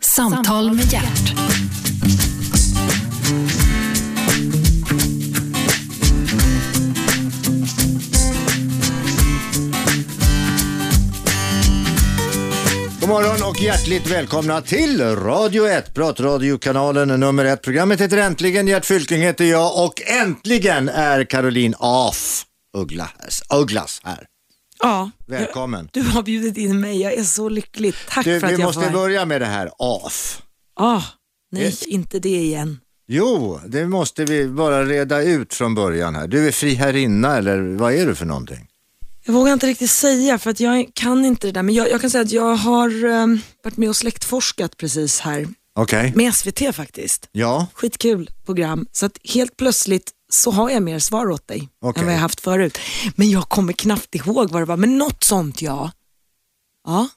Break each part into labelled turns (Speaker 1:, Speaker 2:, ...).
Speaker 1: Samtal med hjärt.
Speaker 2: God morgon och hjärtligt välkomna till Radio 1, pratradiokanalen nummer 1. Programmet heter Äntligen, Gert Fylking heter jag och äntligen är Caroline af Uggla, Ugglas här.
Speaker 3: Ja,
Speaker 2: Välkommen.
Speaker 3: du har bjudit in mig. Jag är så lycklig. Tack
Speaker 2: Du,
Speaker 3: för att
Speaker 2: vi
Speaker 3: jag
Speaker 2: måste
Speaker 3: får vara här.
Speaker 2: börja med det här af.
Speaker 3: Ah, nej, inte det igen.
Speaker 2: Jo, det måste vi bara reda ut från början här. Du är friherrinna eller vad är du för någonting?
Speaker 3: Jag vågar inte riktigt säga för att jag kan inte det där. Men jag, jag kan säga att jag har ehm, varit med och släktforskat precis här
Speaker 2: Okej.
Speaker 3: med SVT faktiskt.
Speaker 2: Ja,
Speaker 3: Skitkul program. Så att helt plötsligt så har jag mer svar åt dig
Speaker 2: Okej.
Speaker 3: än vad jag haft förut. Men jag kommer knappt ihåg vad det var, men något sånt ja. Ja,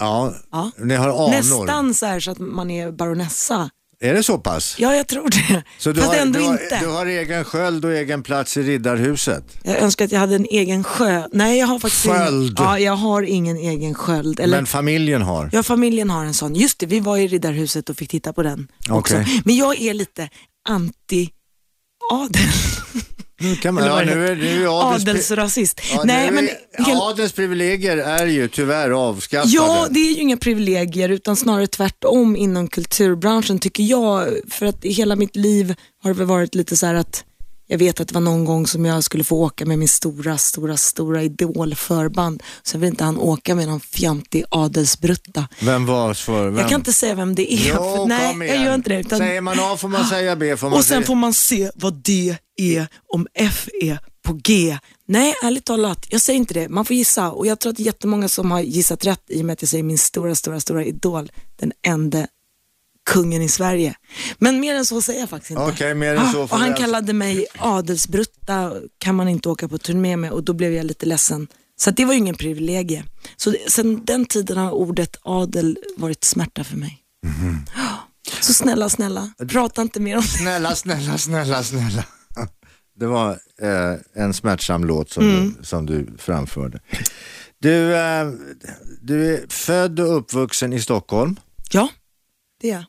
Speaker 2: ja.
Speaker 3: Ja.
Speaker 2: ni har anor.
Speaker 3: nästan så här så att man är baronessa.
Speaker 2: Är det så pass?
Speaker 3: Ja, jag tror det.
Speaker 2: Så du
Speaker 3: Fast
Speaker 2: har,
Speaker 3: ändå
Speaker 2: du, har,
Speaker 3: inte.
Speaker 2: du har egen sköld och egen plats i riddarhuset?
Speaker 3: Jag önskar att jag hade en egen sjö. Nej, jag har faktiskt
Speaker 2: Sköld.
Speaker 3: Ingen, ja, jag har ingen egen sköld. Eller,
Speaker 2: Men familjen har?
Speaker 3: Ja, familjen har en sån. Just det, vi var i Riddarhuset och fick titta på den också.
Speaker 2: Okej.
Speaker 3: Men jag är lite anti-adel.
Speaker 2: Nu kan man,
Speaker 3: Eller
Speaker 2: ja,
Speaker 3: vad det
Speaker 2: nu är, nu är adels...
Speaker 3: Adelsrasist.
Speaker 2: Ja,
Speaker 3: Nej,
Speaker 2: nu är,
Speaker 3: men... helt-
Speaker 2: Adels privilegier är ju tyvärr avskaffade.
Speaker 3: Ja, det är ju inga privilegier utan snarare tvärtom inom kulturbranschen tycker jag. För att i hela mitt liv har det väl varit lite så här att jag vet att det var någon gång som jag skulle få åka med min stora, stora, stora idolförband. Sen vill inte han åka med någon fjantig adelsbrutta.
Speaker 2: Vem var för vem?
Speaker 3: Jag kan inte säga vem det är.
Speaker 2: Jo,
Speaker 3: för, nej,
Speaker 2: kom igen.
Speaker 3: jag gör inte det. Utan, Ah.
Speaker 2: Säger man A får man säga B får man
Speaker 3: och sen
Speaker 2: säga...
Speaker 3: får man se vad D är om F är på G. Nej, ärligt talat, jag säger inte det. Man får gissa och jag tror att det är jättemånga som har gissat rätt i och med att jag säger min stora, stora, stora idol, den enda kungen i Sverige. Men mer än så säger jag faktiskt inte.
Speaker 2: Okej, mer än
Speaker 3: Ah,
Speaker 2: så får
Speaker 3: och han
Speaker 2: vi alltså-
Speaker 3: kallade mig adelsbrutta, kan man inte åka på turné med och då blev jag lite ledsen. Så att det var ju ingen privilegie. Så det- sen den tiden har ordet adel varit smärta för mig.
Speaker 2: Mhm.
Speaker 3: Ah, Så snälla, snälla, prata inte mer om det.
Speaker 2: Snälla, snälla, snälla, snälla. Det var eh, en smärtsam låt som,
Speaker 3: Mm.
Speaker 2: du, som du framförde. Du, eh, du är född och uppvuxen i Stockholm,
Speaker 3: Ja, det är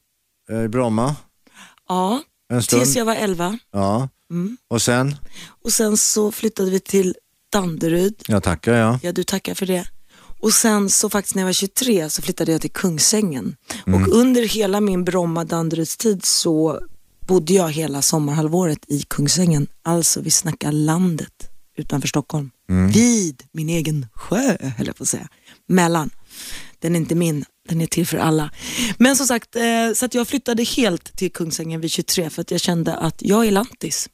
Speaker 3: jag.
Speaker 2: eh, i Bromma
Speaker 3: Ja,
Speaker 2: en
Speaker 3: tills
Speaker 2: stund.
Speaker 3: jag var 11.
Speaker 2: Ja.
Speaker 3: Mm.
Speaker 2: Och sen,
Speaker 3: Och sen så flyttade vi till Danderyd.
Speaker 2: jag tackar ja.
Speaker 3: Ja, du tackar för det. Och sen så faktiskt när jag var 23 så flyttade jag till Kungsängen. Och under hela min Bromma Danderydstid så bodde jag hela sommarhalvåret i Kungsängen. Alltså, vi snackar landet utanför Stockholm. Vid min egen sjö, höll jag på att säga. Mellan. Den är inte min, den är till för alla. Men som sagt, eh, så att jag flyttade helt till Kungsängen vid 23 för att jag kände att jag är lantis.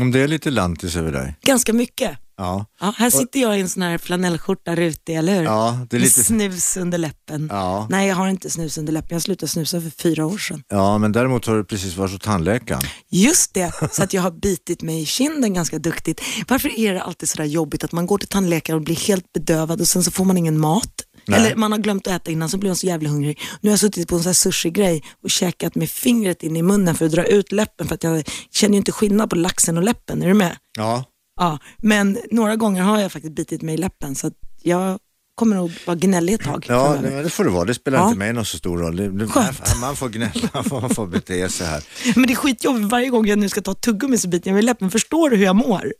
Speaker 2: Om det är lite lantis över dig.
Speaker 3: Ganska mycket.
Speaker 2: Ja.
Speaker 3: Ja, här sitter jag i en sån här flanellskjorta rutig, eller hur?
Speaker 2: Ja, det är lite-
Speaker 3: Med snus under läppen.
Speaker 2: Ja.
Speaker 3: Nej, jag har inte snus under läppen. Jag slutade snusa för fyra år sedan.
Speaker 2: ja, men däremot har du precis varit hos tandläkaren.
Speaker 3: Just det, så att jag har bitit mig i kinden ganska duktigt. Varför är det alltid sådär jobbigt att man går till tandläkaren och blir helt bedövad och sen så får man ingen mat?
Speaker 2: Nej.
Speaker 3: Eller man har glömt att äta innan så blir man så jävla hungrig. Nu har jag suttit på en sån här sushi-grej och käkat med fingret in i munnen för att dra ut läppen för att jag känner ju inte skillnad på laxen och läppen. Är du med?
Speaker 2: Ja.
Speaker 3: Ja, men några gånger har jag faktiskt bitit mig i läppen så att jag kommer nog vara gnällig ett tag.
Speaker 2: Ja,
Speaker 3: framöver.
Speaker 2: nej, men det får det vara. Det spelar
Speaker 3: Ja.
Speaker 2: inte mig någon så stor roll. Det- det-
Speaker 3: Skönt.
Speaker 2: Man får gnälla, man får bete sig här.
Speaker 3: men det är skitjobbigt varje gång jag nu ska ta tuggummi så biter jag mig i läppen. Förstår du hur jag mår?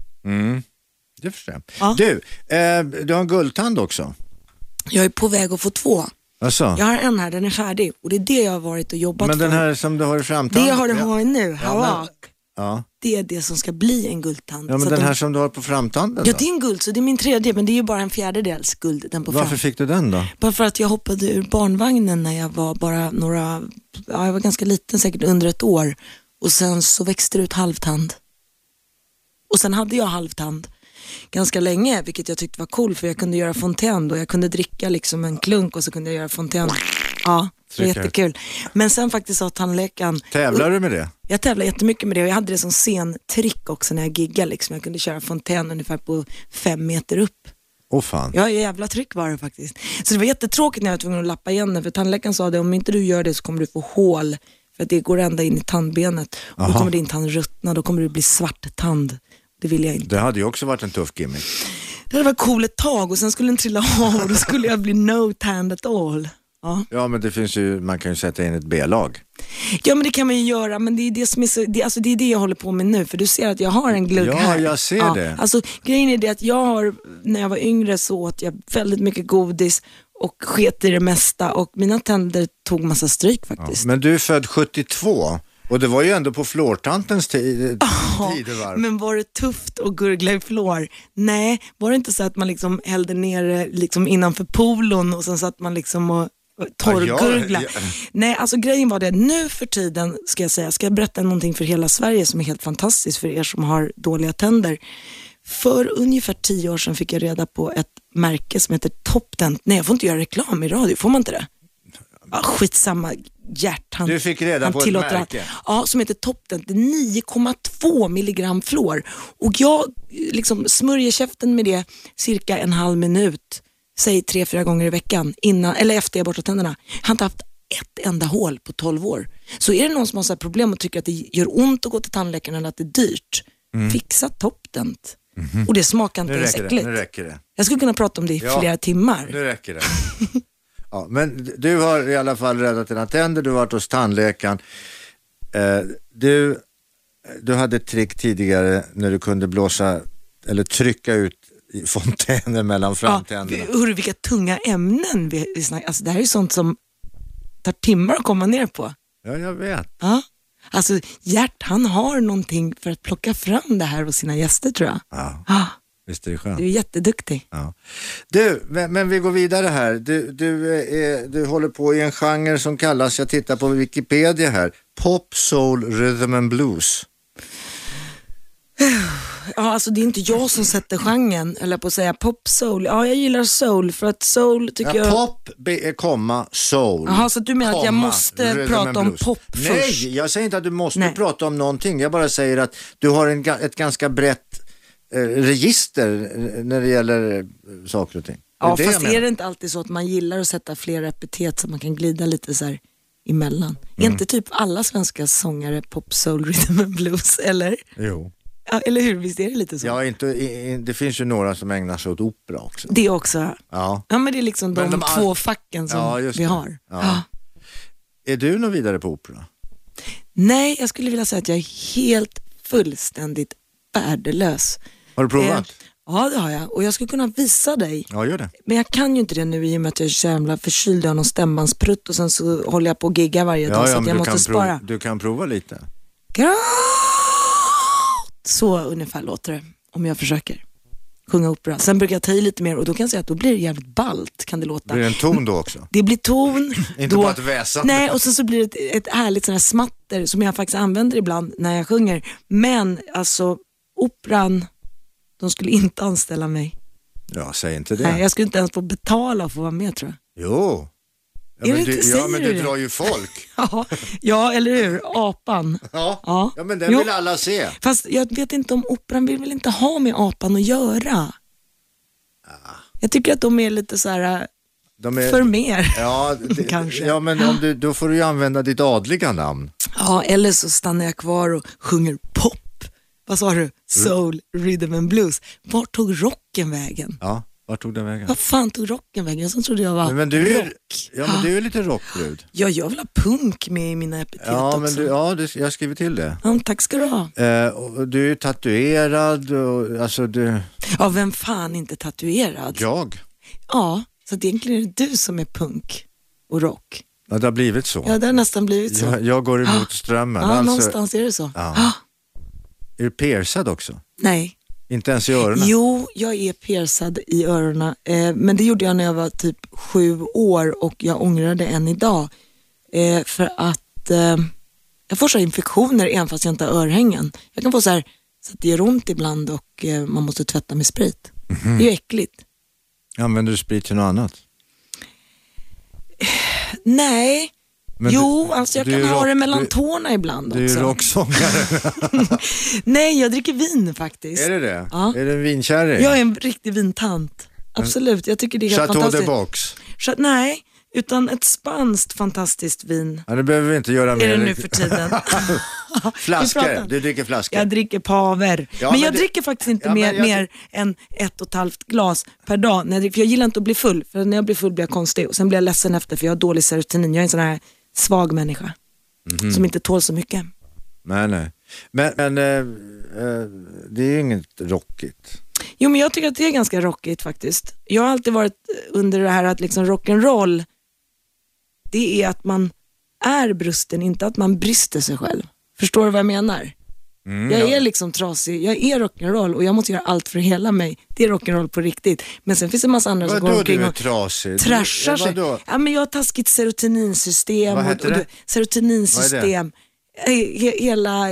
Speaker 2: Det förstår jag.
Speaker 3: Ja.
Speaker 2: Du, eh, du har en guldtand också.
Speaker 3: Jag är på väg att få två.
Speaker 2: Alltså.
Speaker 3: Jag har en här, den är färdig och det är det jag har varit och jobbat
Speaker 2: men den
Speaker 3: för.
Speaker 2: här som du har i
Speaker 3: Det
Speaker 2: framtanden.
Speaker 3: jag har,
Speaker 2: ja.
Speaker 3: har nu,
Speaker 2: men-
Speaker 3: hawak,
Speaker 2: Ja.
Speaker 3: det är det som ska bli en guldtand.
Speaker 2: ja,
Speaker 3: Så
Speaker 2: men
Speaker 3: att
Speaker 2: den
Speaker 3: de-
Speaker 2: här som du har på framtanden
Speaker 3: Ja,
Speaker 2: då?
Speaker 3: det är en guld, så det är min tredje, men det är ju bara en fjärdedels guld, den på fram.
Speaker 2: Varför fick du den då?
Speaker 3: Bara för att jag hoppade ur barnvagnen när jag var bara några, ja, jag var ganska liten, säkert under ett år. Och sen så växte det ut halvtand. Och sen hade jag halvtand ganska länge, vilket jag tyckte var cool för jag kunde göra fontän då. Jag kunde dricka liksom en klunk och så kunde jag göra fontän. Ja, det var
Speaker 2: Trycka ut.
Speaker 3: jättekul. Men sen faktiskt sa tandläkaren,
Speaker 2: Tävlar du med det?
Speaker 3: jag tävlade jättemycket med det och jag hade det som scentrick också när jag giggade. Liksom. Jag kunde köra fontän ungefär på fem meter upp.
Speaker 2: Åh fan.
Speaker 3: Ja, jävla tryck var det faktiskt. Så det var jättetråkigt när jag var tvungen att lappa igen den, för tandläkaren sa det, om inte du gör det så kommer du få hål, för att det går ända in i tandbenet. Och då
Speaker 2: Aha.
Speaker 3: kommer din tand ruttna, då kommer du bli svart tand. Det vill jag inte.
Speaker 2: Det hade ju också varit en tuff gimmick.
Speaker 3: Det hade varit cool ett tag och sen skulle den trilla av och då skulle jag bli no tand at all. Ja.
Speaker 2: Ja, men det finns ju, man kan ju sätta in ett B-lag.
Speaker 3: ja, men det kan man ju göra, men det är det, som är så, det, alltså, det, är det jag håller på med nu, för du ser att jag har en glugg
Speaker 2: Ja,
Speaker 3: här.
Speaker 2: jag ser det.
Speaker 3: Alltså, grejen är det att jag har, när jag var yngre så åt jag väldigt mycket godis och sket i det mesta och mina tänder tog massa stryk faktiskt.
Speaker 2: Men du är född 72 och det var ju ändå på flårtantens eh, tid,
Speaker 3: Ja,
Speaker 2: tidevarv.
Speaker 3: men var det tufft att gurgla i fluor? Nej, var det inte så att man liksom hällde ner det liksom innanför polon och sen satt man liksom och och torrgurgla?
Speaker 2: Ja, ja, ja.
Speaker 3: Nej, alltså grejen var det, nu för tiden ska jag säga, ska jag berätta någonting för hela Sverige som är helt fantastiskt för er som har dåliga tänder. För ungefär tio år sedan fick jag reda på ett märke som heter Topdent. Nej, jag får inte göra reklam i radio, får man inte det? Ah, skitsamma, Gert han,
Speaker 2: Du fick reda
Speaker 3: han
Speaker 2: på ett
Speaker 3: tillåter allt.
Speaker 2: märke.
Speaker 3: Ja, som heter Topdent. Det är 9,2 milligram fluor. Och jag eh, liksom smörjer käften med det cirka en halv minut, säg tre, fyra gånger i veckan, innan, eller efter jag borstat tänderna. Jag har inte haft ett enda hål på 12 år. Så är det någon som har så här problem och tycker att det gör ont att gå till tandläkaren eller att det är dyrt, fixa Topdent. Och det smakar inte
Speaker 2: Mm. Mhm. Nu
Speaker 3: ens
Speaker 2: räcker det,
Speaker 3: äckligt.
Speaker 2: nu räcker det.
Speaker 3: Jag skulle kunna prata om det i
Speaker 2: Ja.
Speaker 3: flera timmar.
Speaker 2: Nu räcker det. Ja, men du har i alla fall räddat dina tänder, du har varit hos tandläkaren. Eh, du, du hade ett trick tidigare när du kunde blåsa eller trycka ut i fontäner mellan framtänderna.
Speaker 3: Ja, hörru, vilka tunga ämnen vi, vi snackar. Alltså, det här är ju sånt som tar timmar att komma ner på.
Speaker 2: Ja, jag vet.
Speaker 3: Ja. Alltså, Gert, han har någonting för att plocka fram det här hos sina gäster tror jag.
Speaker 2: Ja,
Speaker 3: Ah,
Speaker 2: visst är det
Speaker 3: du är
Speaker 2: skönt.
Speaker 3: jätteduktig.
Speaker 2: Ja. Du, men, men vi går vidare här. Du, du, eh, är, du håller på i en genre som kallas, jag tittar på Wikipedia här, Pop, Soul, Rhythm and Blues.
Speaker 3: Ja, alltså det är inte jag som sätter genren, eller på att säga pop soul. Ja, jag gillar soul för att soul tycker
Speaker 2: Ja,
Speaker 3: jag...
Speaker 2: pop, be, eh, komma, soul.
Speaker 3: Jaha, så du menar att jag
Speaker 2: komma,
Speaker 3: måste
Speaker 2: rhythm
Speaker 3: prata
Speaker 2: and
Speaker 3: om
Speaker 2: blues.
Speaker 3: pop först?
Speaker 2: Nej, jag säger inte att du måste
Speaker 3: Nej.
Speaker 2: prata om någonting. Jag bara säger att du har en, ga- ett ganska brett eh, register eh, när det gäller eh, saker och ting. Det är
Speaker 3: Ja,
Speaker 2: det jag
Speaker 3: fast
Speaker 2: menar.
Speaker 3: är det inte alltid så att man gillar att sätta flera epitet så man kan glida lite så här emellan?
Speaker 2: Mm.
Speaker 3: Är inte typ alla svenska sångare pop, soul, rhythm and blues, eller?
Speaker 2: Jo.
Speaker 3: Ja, eller hur? Visst är det lite så?
Speaker 2: Ja, inte, i- i- det finns ju några som ägnar sig åt opera också.
Speaker 3: Det också.
Speaker 2: Ja.
Speaker 3: Ja, men det är liksom de,
Speaker 2: Men de all-
Speaker 3: två facken som
Speaker 2: Ja, just
Speaker 3: vi
Speaker 2: det.
Speaker 3: har.
Speaker 2: Ja.
Speaker 3: Ah.
Speaker 2: Är du någon vidare på opera?
Speaker 3: Nej, jag skulle vilja säga att jag är helt fullständigt värdelös.
Speaker 2: Har du provat?
Speaker 3: Eh, ja, det har jag. Och jag skulle kunna visa dig.
Speaker 2: Ja, gör det.
Speaker 3: Men jag kan ju inte det nu i och med att jag är så jävla förkyld och har någon stämbandsprutt och sen så håller jag på och giggar varje dag
Speaker 2: Ja,
Speaker 3: så
Speaker 2: ja,
Speaker 3: att
Speaker 2: men
Speaker 3: jag
Speaker 2: du,
Speaker 3: måste
Speaker 2: kan
Speaker 3: spara.
Speaker 2: prov, du kan prova lite.
Speaker 3: Gråt! Så ungefär låter det om jag försöker sjunga opera. Sen brukar jag ta i lite mer och då kan jag säga att då blir det jävligt ballt kan det låta.
Speaker 2: Blir det en ton då också?
Speaker 3: Det blir ton.
Speaker 2: Inte
Speaker 3: då,
Speaker 2: bara ett väsande.
Speaker 3: Nej, och sen så blir det ett, ett härligt sån här smatter som jag faktiskt använder ibland när jag sjunger. Men alltså, operan, de skulle inte anställa mig.
Speaker 2: Ja, säg inte det.
Speaker 3: Nej, jag skulle inte ens få betala för att vara med tror jag.
Speaker 2: Jo. Ja,
Speaker 3: Är
Speaker 2: men,
Speaker 3: det
Speaker 2: du,
Speaker 3: inte-
Speaker 2: ja, men
Speaker 3: säger
Speaker 2: du
Speaker 3: du det?
Speaker 2: drar ju folk.
Speaker 3: Ja, ja eller hur? Apan.
Speaker 2: Ja, ja.
Speaker 3: Ja.
Speaker 2: men den
Speaker 3: Jo.
Speaker 2: vill alla se.
Speaker 3: Fast jag vet inte om operan vill väl inte ha med apan att göra.
Speaker 2: Ah.
Speaker 3: Jag tycker att de är lite så här
Speaker 2: De
Speaker 3: äh,
Speaker 2: är,
Speaker 3: för mer.
Speaker 2: ja, det,
Speaker 3: Kanske.
Speaker 2: Ja, men om du, då får du ju använda ditt adliga namn.
Speaker 3: Ja, eller så stannar jag kvar och sjunger pop. Vad sa
Speaker 2: Mm.
Speaker 3: du? Soul, rhythm and blues. Vart tog rocken vägen?
Speaker 2: Ja, vart tog den vägen?
Speaker 3: Vad fan tog rocken vägen? Som trodde jag var
Speaker 2: Men, men du är,
Speaker 3: rock.
Speaker 2: ja, men du är lite rockbrud.
Speaker 3: Ja, jag vill ha punk med i mina epitet
Speaker 2: Ja, men
Speaker 3: också.
Speaker 2: du, ja du, jag skriver till det.
Speaker 3: Ja, tack ska du ha.
Speaker 2: Eh, och och du är ju tatuerad och alltså du,
Speaker 3: Ja, vem fan är inte tatuerad?
Speaker 2: jag.
Speaker 3: Ja, så att egentligen är det du som är punk och rock.
Speaker 2: Ja, det har blivit så.
Speaker 3: Ja, det har nästan blivit så. Ah.
Speaker 2: Jag, jag går emot strömmen.
Speaker 3: ja,
Speaker 2: alltså,
Speaker 3: någonstans är det så.
Speaker 2: Ja.
Speaker 3: Ah,
Speaker 2: är du piercad också?
Speaker 3: nej.
Speaker 2: Inte ens i öronen?
Speaker 3: Jo, jag är piercad i öronen. Eh, men det gjorde jag när jag var typ sju år och jag ångrar det än idag. Eh, för att eh, jag får så här infektioner även fast jag inte har örhängen. Jag kan få så här så att det gör ont ibland och eh, man måste tvätta med sprit.
Speaker 2: Mhm.
Speaker 3: Det är ju äckligt.
Speaker 2: Använder du sprit till något annat?
Speaker 3: Nej,
Speaker 2: Men
Speaker 3: jo,
Speaker 2: du-
Speaker 3: alltså jag
Speaker 2: du
Speaker 3: kan
Speaker 2: är
Speaker 3: ha
Speaker 2: rock-
Speaker 3: det mellan
Speaker 2: du-
Speaker 3: tårna ibland
Speaker 2: Du är ju
Speaker 3: också.
Speaker 2: rocksångare.
Speaker 3: Nej, jag dricker vin faktiskt.
Speaker 2: är det det?
Speaker 3: Ja.
Speaker 2: Är du en vinkärring?
Speaker 3: Jag är en riktig vintant. Absolut, jag tycker det är helt
Speaker 2: Chateau de
Speaker 3: fantastiskt.
Speaker 2: Box.
Speaker 3: Så, att- nej, utan ett spanskt fantastiskt vin
Speaker 2: Ja, det behöver vi inte göra mer.
Speaker 3: är det nu för tiden.
Speaker 2: Flaskor,
Speaker 3: pratar-
Speaker 2: du dricker flaskor.
Speaker 3: Jag dricker paver.
Speaker 2: Ja,
Speaker 3: men
Speaker 2: men
Speaker 3: jag
Speaker 2: det-
Speaker 3: dricker faktiskt inte
Speaker 2: Ja, men
Speaker 3: mer,
Speaker 2: jag-
Speaker 3: mer än ett och ett halvt glas per dag. När jag, dricker, för jag gillar inte att bli full, för när jag blir full blir jag konstig och sen blir jag ledsen efter för jag har dålig serotonin. Jag är en sån här svag människa
Speaker 2: Mhm.
Speaker 3: som inte tål så mycket.
Speaker 2: Nej, nej. Men, men eh, eh, det är ju inget rockigt.
Speaker 3: Jo men jag tycker att det är ganska rockigt faktiskt. Jag har alltid varit under det här att liksom rock'n'roll, det är att man är brusten, inte att man brister sig själv. Förstår du vad jag menar?
Speaker 2: Mm,
Speaker 3: jag är liksom trasig, jag är rock'n'roll och jag måste göra allt för att hela mig. Det är rock'n'roll på riktigt. Men sen finns det en massa andra som går
Speaker 2: Vadå du
Speaker 3: omkring
Speaker 2: är
Speaker 3: och
Speaker 2: trasig?
Speaker 3: trashar
Speaker 2: Du- eh,
Speaker 3: sig.
Speaker 2: vadå?
Speaker 3: Ja, men jag har taskigt serotoninsystem.
Speaker 2: Vad
Speaker 3: och-
Speaker 2: heter
Speaker 3: och
Speaker 2: det?
Speaker 3: du- Serotoninsystem. Eh, he- Hela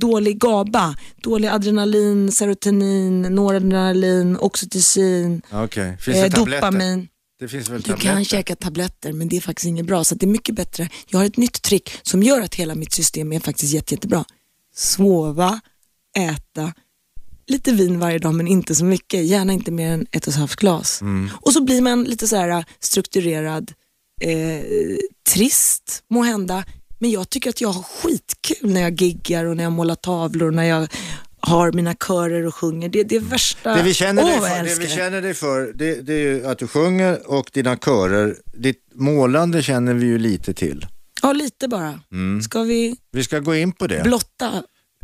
Speaker 3: dålig GABA, dålig adrenalin, serotonin, noradrenalin, oxytocin,
Speaker 2: Okej, finns det
Speaker 3: eh,
Speaker 2: tabletter?
Speaker 3: dopamin.
Speaker 2: Det finns väl
Speaker 3: Du
Speaker 2: tabletter?
Speaker 3: kan käka tabletter men det är faktiskt inget bra så att det är mycket bättre. Jag har ett nytt trick som gör att hela mitt system är faktiskt jätte, jättebra. Sova, äta, lite vin varje dag men inte så mycket. Gärna inte mer än ett och ett halvt glas.
Speaker 2: Mm.
Speaker 3: Och så blir man lite så här äh, strukturerad, eh, trist må hända. Men jag tycker att jag har skitkul när jag giggar och när jag målar tavlor och när jag har mina körer och sjunger. Det, det är värsta...
Speaker 2: Det vi känner, dig
Speaker 3: Ah. Åh, vad jag
Speaker 2: för, det
Speaker 3: älskar
Speaker 2: vi känner dig för, det, det är ju att du sjunger och dina körer. Ditt målande känner vi ju lite till.
Speaker 3: Ja, lite bara.
Speaker 2: Mm.
Speaker 3: Ska vi
Speaker 2: Vi ska gå in på det.
Speaker 3: blotta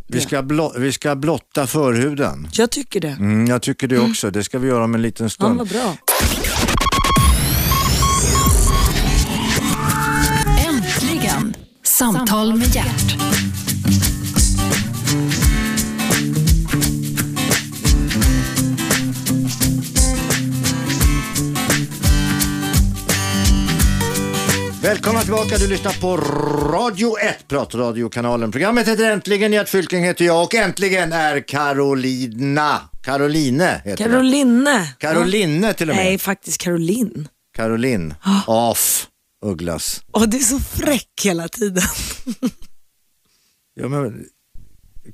Speaker 2: vi, ska blå, vi ska blotta förhuden.
Speaker 3: Jag tycker det.
Speaker 2: Mm, jag tycker det också. Det ska vi göra om en liten
Speaker 3: Ja,
Speaker 2: stund.
Speaker 3: vad bra.
Speaker 1: Äntligen! Samtal med hjärt.
Speaker 2: Välkomna tillbaka, du lyssnar på Radio 1, pratradiokanalen. Programmet heter Äntligen, Gert Fylking heter jag och äntligen är Carolina. Caroline heter jag.
Speaker 3: Caroline.
Speaker 2: Caroline till
Speaker 3: Ja.
Speaker 2: och med.
Speaker 3: Nej, Ah. faktiskt Caroline.
Speaker 2: Caroline af Ugglas.
Speaker 3: Åh, det är så fräck hela tiden.
Speaker 2: Ja, men,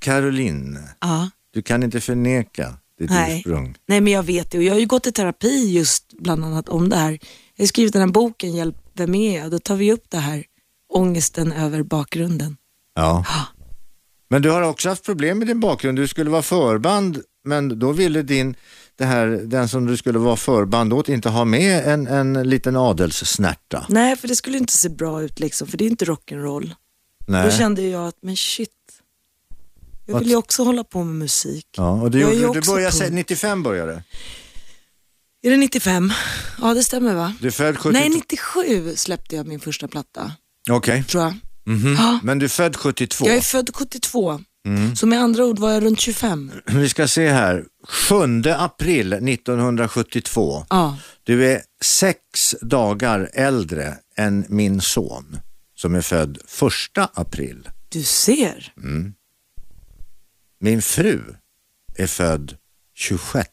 Speaker 2: Caroline,
Speaker 3: Ja.
Speaker 2: du kan inte förneka ditt
Speaker 3: Nej.
Speaker 2: ursprung.
Speaker 3: Nej, men jag vet det. Och jag har ju gått i terapi just bland annat om det här. Jag har skrivit den här boken, Hjälp, vem är jag? Då tar vi upp det här, ångesten över bakgrunden.
Speaker 2: Ja.
Speaker 3: Ja.
Speaker 2: Men du har också haft problem med din bakgrund. Du skulle vara förband, men då ville din, det här, den som du skulle vara förband åt inte ha med en, en liten adelssnärta.
Speaker 3: Nej, för det skulle inte se bra ut liksom, för det är inte rock'n'roll. Då
Speaker 2: Nej.
Speaker 3: kände jag att, men shit. Jag
Speaker 2: Vad-
Speaker 3: vill ju också hålla på med musik.
Speaker 2: Ja, och du,
Speaker 3: Jag är ju
Speaker 2: gjorde, du
Speaker 3: också
Speaker 2: började, se-
Speaker 3: punk.
Speaker 2: 95 började
Speaker 3: Är det 95? Ja, det stämmer va?
Speaker 2: du. född 72.
Speaker 3: Nej, 97 släppte jag min första platta,
Speaker 2: Okej,
Speaker 3: tror jag.
Speaker 2: Mhm.
Speaker 3: Ja.
Speaker 2: men du är född 72.
Speaker 3: Jag är född 72,
Speaker 2: Mm.
Speaker 3: så med andra ord var jag runt 25.
Speaker 2: Vi ska se här, 7 april 1972.
Speaker 3: Ja.
Speaker 2: Du är sex dagar äldre än min son som är född 1 april.
Speaker 3: Du ser.
Speaker 2: Min fru är född 26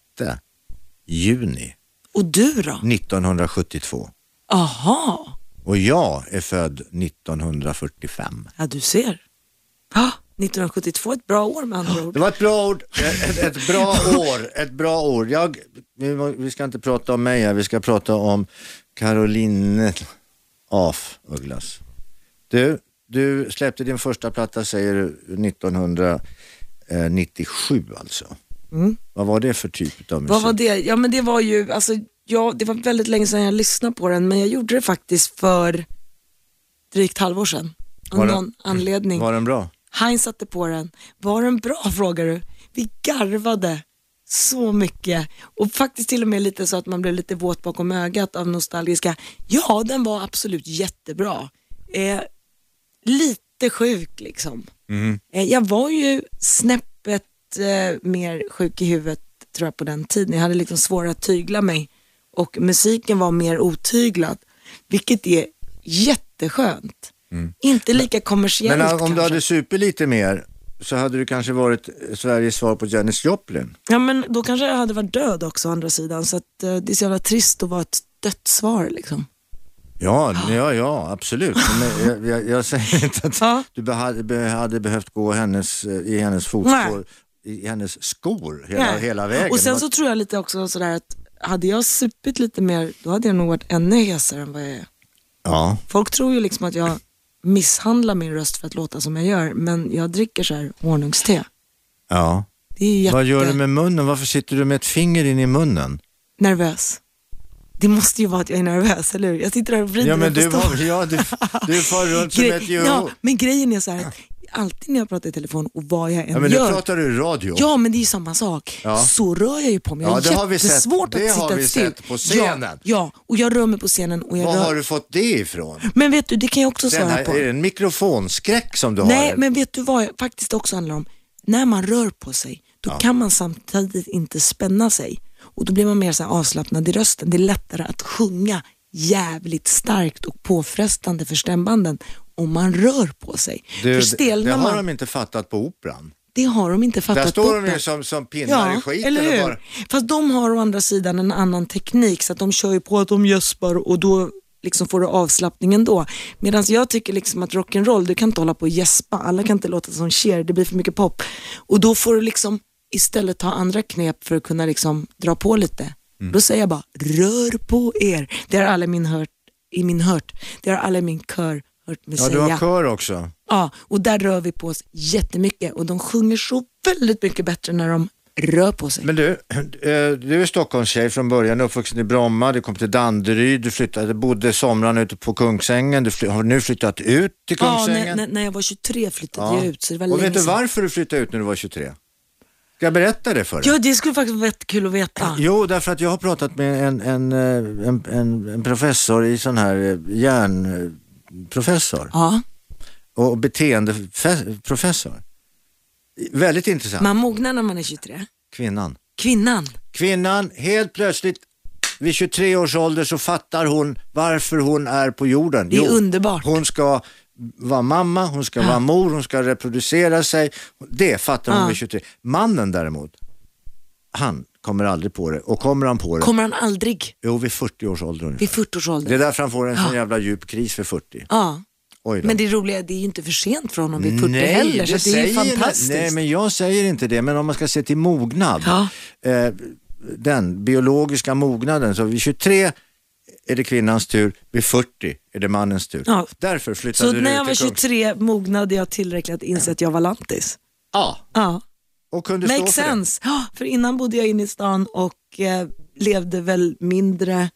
Speaker 2: juni
Speaker 3: Och du då?
Speaker 2: 1972
Speaker 3: Aha.
Speaker 2: och jag är född 1945.
Speaker 3: ja du ser. Ja, 1972 är ett bra år med andra
Speaker 2: Det
Speaker 3: ord.
Speaker 2: var ett bra ord, ett, ett- ett bra år, ett bra år. Jag, vi, må- vi ska inte prata om mig här, vi ska prata om Caroline af Ugglas. Du, du släppte din första platta säger du 1997 alltså.
Speaker 3: Mm.
Speaker 2: Vad var det för typ av musik?
Speaker 3: Vad var det? Ja men det var ju, alltså, ja, det var väldigt länge sedan jag lyssnade på den, men jag gjorde det faktiskt för drygt halvår sedan. Av
Speaker 2: Var det-
Speaker 3: någon anledning.
Speaker 2: Var den bra?
Speaker 3: Han satte på den. Var den bra frågar du? Vi garvade så mycket och faktiskt till och med lite så att man blev lite våt bakom ögat av nostalgiska. Ja, den var absolut jättebra. Eh, lite sjuk liksom.
Speaker 2: Mm-hmm.
Speaker 3: Eh, jag var ju snäppet eh, mer sjuk i huvudet tror jag på den tiden. Jag hade liksom svårare att tygla mig och musiken var mer otyglad, vilket är jätteskönt. Inte lika kommersiellt
Speaker 2: Mm. Men om
Speaker 3: kanske.
Speaker 2: du hade supit lite mer så hade du kanske varit Sveriges svar på Janis Joplin.
Speaker 3: Ja men då kanske jag hade varit död också å andra sidan så att, eh, det är så jävla trist att vara ett dött svar liksom.
Speaker 2: Ja, ja, ja absolut. Men eh, jag, jag, jag säger inte att
Speaker 3: Ja.
Speaker 2: du be, hade, be, hade behövt gå hennes, eh, i hennes
Speaker 3: Nej.
Speaker 2: fotspår, i hennes skor hela,
Speaker 3: Nej.
Speaker 2: hela vägen.
Speaker 3: Och sen så tror jag lite också sådär att hade jag supit lite mer då hade jag nog varit ännu hesigare än vad jag är.
Speaker 2: Ja,
Speaker 3: Folk tror ju liksom att jag misshandla min röst för att låta som jag gör, men jag dricker så här honungste.
Speaker 2: Ja.
Speaker 3: Det är jätte...
Speaker 2: Vad gör du med munnen? Varför sitter du med ett finger in i munnen?
Speaker 3: Nervös. Det måste ju vara att jag är nervös, eller hur? Jag sitter här och vrider
Speaker 2: Ja, men
Speaker 3: mig
Speaker 2: du,
Speaker 3: på staven.
Speaker 2: var, ja, du, du far runt som
Speaker 3: Gre-
Speaker 2: ett jo.
Speaker 3: ja, men grejen är så här, att alltid när jag pratar i telefon och vad jag än
Speaker 2: Ja, men nu
Speaker 3: gör,
Speaker 2: pratar du i radio.
Speaker 3: ja men det är ju samma sak,
Speaker 2: Ja.
Speaker 3: så rör jag ju på mig. Jag
Speaker 2: Ja, det har vi sett.
Speaker 3: jättesvårt
Speaker 2: Det
Speaker 3: att
Speaker 2: har
Speaker 3: sitta
Speaker 2: vi
Speaker 3: still.
Speaker 2: sett på scenen.
Speaker 3: Ja, ja, och jag rör mig på scenen och jag
Speaker 2: Var
Speaker 3: rör...
Speaker 2: har du fått det ifrån?
Speaker 3: Men vet du, det kan jag också
Speaker 2: Den
Speaker 3: svara
Speaker 2: här,
Speaker 3: på.
Speaker 2: är det en mikrofonskräck som du
Speaker 3: Nej,
Speaker 2: har?
Speaker 3: men vet du vad jag faktiskt också handlar om? När man rör på sig, då kan man samtidigt inte spänna sig. Och då blir man mer så här avslappnad i rösten. Det är lättare att sjunga jävligt starkt och påfrestande för stämbanden om man rör på sig.
Speaker 2: Du,
Speaker 3: för
Speaker 2: det, det
Speaker 3: stelnar
Speaker 2: har
Speaker 3: man,
Speaker 2: de inte fattat på operan.
Speaker 3: det har de inte fattat
Speaker 2: Där står
Speaker 3: bort
Speaker 2: de ju
Speaker 3: än.
Speaker 2: som, som pinnar
Speaker 3: Ja,
Speaker 2: i skiten.
Speaker 3: eller hur?
Speaker 2: Och bara,
Speaker 3: Fast de har å andra sidan en annan teknik så att de kör ju på att de gäspar och då liksom får du avslappningen då. Medan jag tycker liksom att rock'n'roll, du kan inte hålla på och gäspa, alla kan inte låta som Cher, det blir för mycket pop. Och då får du liksom istället ta andra knep för att kunna liksom dra på lite.
Speaker 2: Mm.
Speaker 3: Då säger jag bara, rör på er. Det har alla i min hört, i min hört, det har alla i min kör hört mig
Speaker 2: ja,
Speaker 3: säga.
Speaker 2: du har kör också.
Speaker 3: Ja, och där rör vi på oss jättemycket och de sjunger så väldigt mycket bättre när de rör på sig.
Speaker 2: Men du, eh, du är Stockholmstjej från början, uppvuxen i Bromma, du kom till Danderyd, du flyttade, bodde somrarna ute på Kungsängen, du fly, har nu flyttat ut till
Speaker 3: Ja,
Speaker 2: Kungsängen.
Speaker 3: när, när, när jag var 23 flyttade
Speaker 2: Ja.
Speaker 3: jag ut, så det var
Speaker 2: Och
Speaker 3: länge
Speaker 2: vet du
Speaker 3: sedan.
Speaker 2: varför du flyttade ut när du var 23? Ska jag berätta det för dig?
Speaker 3: Ja, det skulle faktiskt vara kul att veta.
Speaker 2: Jo, därför att jag har pratat med en, en, eh, en, en, en professor i sån här eh, hjärnprofessor
Speaker 3: Ja,
Speaker 2: och beteendeprofessor. Väldigt intressant.
Speaker 3: man mognar när man är 23.
Speaker 2: Kvinnan.
Speaker 3: Kvinnan.
Speaker 2: Kvinnan, helt plötsligt vid 23 års ålder så fattar hon varför hon är på jorden.
Speaker 3: Det är underbart.
Speaker 2: Hon ska vara mamma, hon ska vara mor, hon ska reproducera sig. Det fattar hon
Speaker 3: Ja.
Speaker 2: vid 23. Mannen däremot, han kommer aldrig på det. Och kommer han på det?
Speaker 3: Kommer han aldrig
Speaker 2: Jo, vid 40 års ålder ungefär.
Speaker 3: vid 40 års
Speaker 2: Det är
Speaker 3: ålder?
Speaker 2: därför han får en sån jävla djup kris vid 40.
Speaker 3: Ja,
Speaker 2: Oj då.
Speaker 3: men det roliga är det är ju inte för sent för honom vid 40
Speaker 2: Nej,
Speaker 3: heller, så det är
Speaker 2: säger-
Speaker 3: ju fantastiskt.
Speaker 2: Nej, men jag säger inte det. Men om man ska se till mognad,
Speaker 3: Ja.
Speaker 2: eh, den biologiska mognaden, så vid 23 är det kvinnans tur, vid 40 är det mannens tur.
Speaker 3: Ja.
Speaker 2: Därför flyttade
Speaker 3: Så
Speaker 2: du
Speaker 3: när
Speaker 2: ut
Speaker 3: jag var
Speaker 2: till Kung-
Speaker 3: 23 mognade jag tillräckligt att inse att jag var lantis.
Speaker 2: Ja,
Speaker 3: Ja.
Speaker 2: och kunde stå
Speaker 3: Makes
Speaker 2: för det.
Speaker 3: sense. Ja, för innan bodde jag inne i stan och eh, levde väl mindre,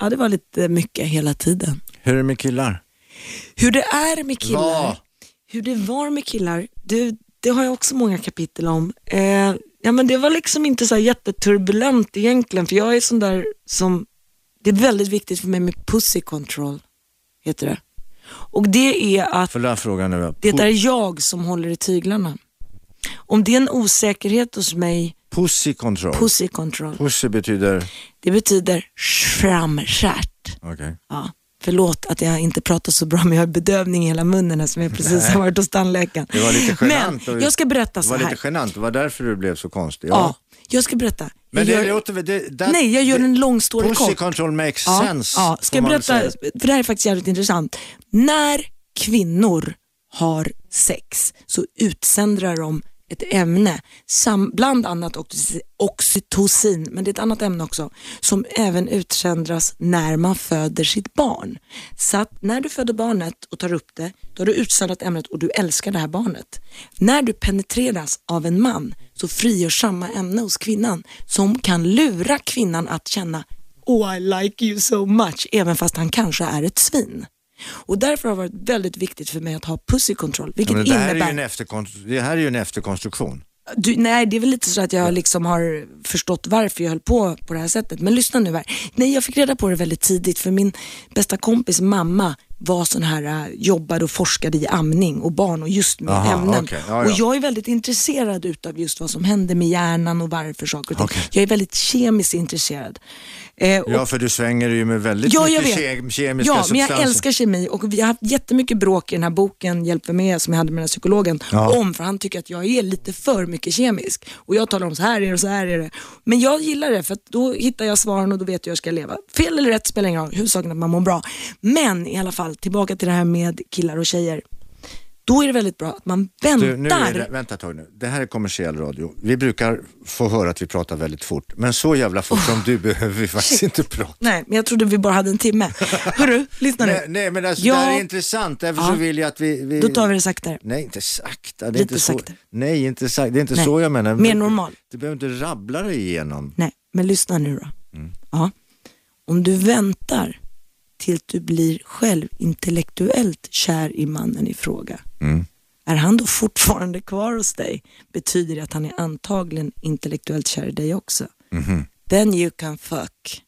Speaker 3: ja det var lite mycket hela tiden.
Speaker 2: Hur är det med killar?
Speaker 3: Hur det är med killar,
Speaker 2: Var.
Speaker 3: hur det var med killar, du, det har jag också många kapitel om. Eh, ja, men det var liksom inte så här jätteturbulent egentligen, för jag är sån där som, det är väldigt viktigt för mig med pussy control, heter det. Och det är att
Speaker 2: Får jag fråga nu?
Speaker 3: det är jag som håller i tyglarna. Om det är en osäkerhet hos mig
Speaker 2: Pussy control.
Speaker 3: Pussy control.
Speaker 2: Pussy betyder...
Speaker 3: Det betyder framskärt.
Speaker 2: Okej.
Speaker 3: Ja. Förlåt att jag inte pratar så bra, men jag har bedövning i hela munnen eftersom jag precis har varit hos tandläkaren.
Speaker 2: Det var lite genant.
Speaker 3: Men
Speaker 2: och-
Speaker 3: jag ska berätta
Speaker 2: Det
Speaker 3: så
Speaker 2: var
Speaker 3: här.
Speaker 2: lite genant, det var därför du blev så konstig.
Speaker 3: ja. jag ska berätta.
Speaker 2: Men
Speaker 3: jag
Speaker 2: det
Speaker 3: gör...
Speaker 2: låter väl... det- that-
Speaker 3: Nej, jag gör
Speaker 2: det-
Speaker 3: en lång story
Speaker 2: Pussy
Speaker 3: kort.
Speaker 2: control makes sense.
Speaker 3: Ja. Ska
Speaker 2: får
Speaker 3: jag
Speaker 2: man väl
Speaker 3: berätta,
Speaker 2: säga.
Speaker 3: för det här är faktiskt jävligt intressant. När kvinnor har sex så utsöndrar de ett ämne, sam, bland annat oxy- oxytocin, men det är ett annat ämne också, som även utsöndras när man föder sitt barn. Så att när du föder barnet och tar upp det, då har du utsöndrat ämnet och du älskar det här barnet. När du penetreras av en man så frigörs samma ämne hos kvinnan som kan lura kvinnan att känna Oh I like you so much, även fast han kanske är ett svin. Och därför har det varit väldigt viktigt för mig att ha pussy control, vilket
Speaker 2: Ja, men det, här är ju
Speaker 3: innebär...
Speaker 2: en efterkon- det här är ju en efterkonstruktion.
Speaker 3: Du, nej, det är väl lite så att jag liksom har förstått varför jag höll på på det här sättet. Men lyssna nu här. Nej, jag fick reda på det väldigt tidigt för min bästa kompis mamma var sån här, äh, jobbade och forskade i amning och barn och just med
Speaker 2: Aha,
Speaker 3: ämnen.
Speaker 2: okej. Ja,
Speaker 3: Och
Speaker 2: ja.
Speaker 3: jag är väldigt intresserad utav just vad som händer med hjärnan och varför saker och ting.
Speaker 2: Okej.
Speaker 3: Jag är väldigt kemiskt intresserad. Eh, och
Speaker 2: Ja, för du svänger ju med väldigt
Speaker 3: Ja, jag
Speaker 2: mycket
Speaker 3: vet.
Speaker 2: ke- kemiska
Speaker 3: ja, men
Speaker 2: substanser.
Speaker 3: jag älskar kemi och vi har haft jättemycket bråk i den här boken Hjälp mig med som jag hade med den här psykologen
Speaker 2: Ja.
Speaker 3: om, för han tycker att jag är lite för mycket kemisk. Och jag talar om så här är det och så här är det. Men jag gillar det för att då hittar jag svaren och då vet jag hur jag ska leva. Fel eller rätt spelar ingen roll, huvudsaken är att man mår bra. Men i alla fall, tillbaka till det här med killar och tjejer. Då är det väldigt bra att man väntar.
Speaker 2: Du, nu är det, vänta ett tag nu. Det här är kommersiell radio. Vi brukar få höra att vi pratar väldigt fort, men så jävla fort
Speaker 3: Oh.
Speaker 2: som du behöver vi faktiskt inte prata.
Speaker 3: Nej, men jag trodde vi bara hade en timme. Hörru, lyssna nu.
Speaker 2: Nej, nej men alltså,
Speaker 3: Ja.
Speaker 2: det här är intressant, därför så
Speaker 3: Ja.
Speaker 2: vill jag att vi... vi...
Speaker 3: Då tar vi det saktare.
Speaker 2: Nej, inte sakta. Det är
Speaker 3: Lite
Speaker 2: inte så...
Speaker 3: sakta.
Speaker 2: Nej, inte sakta. Det är inte
Speaker 3: Nej.
Speaker 2: så jag menar.
Speaker 3: Mer normal.
Speaker 2: Du behöver inte rabbla dig igenom.
Speaker 3: Nej, men lyssna nu då. Ja. Om du väntar tills du blir själv intellektuellt kär i mannen i fråga. Är han då fortfarande kvar hos dig betyder det att han är antagligen intellektuellt kär i dig också. Then you can fuck.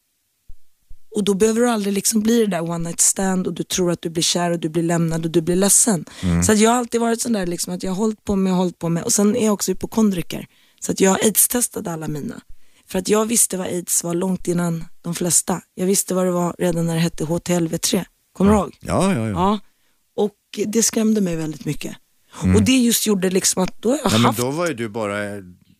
Speaker 3: Och då behöver du aldrig liksom bli det där one night stand och du tror att du blir kär och du blir lämnad och du blir ledsen. Så att jag har alltid varit sån där liksom att jag har hållit på med och hållit på med och sen är jag också hypokondriker. Så att jag aids-testade alla mina. För att jag visste vad aids var långt innan de flesta. Jag visste vad det var redan när det hette HTLV-3. Kommer du ihåg?
Speaker 2: Ja, ja, ja.
Speaker 3: Ja. Och det skrämde mig väldigt mycket. Och det just gjorde liksom att då har jag
Speaker 2: Mm. Nej, men
Speaker 3: haft
Speaker 2: då var ju du bara,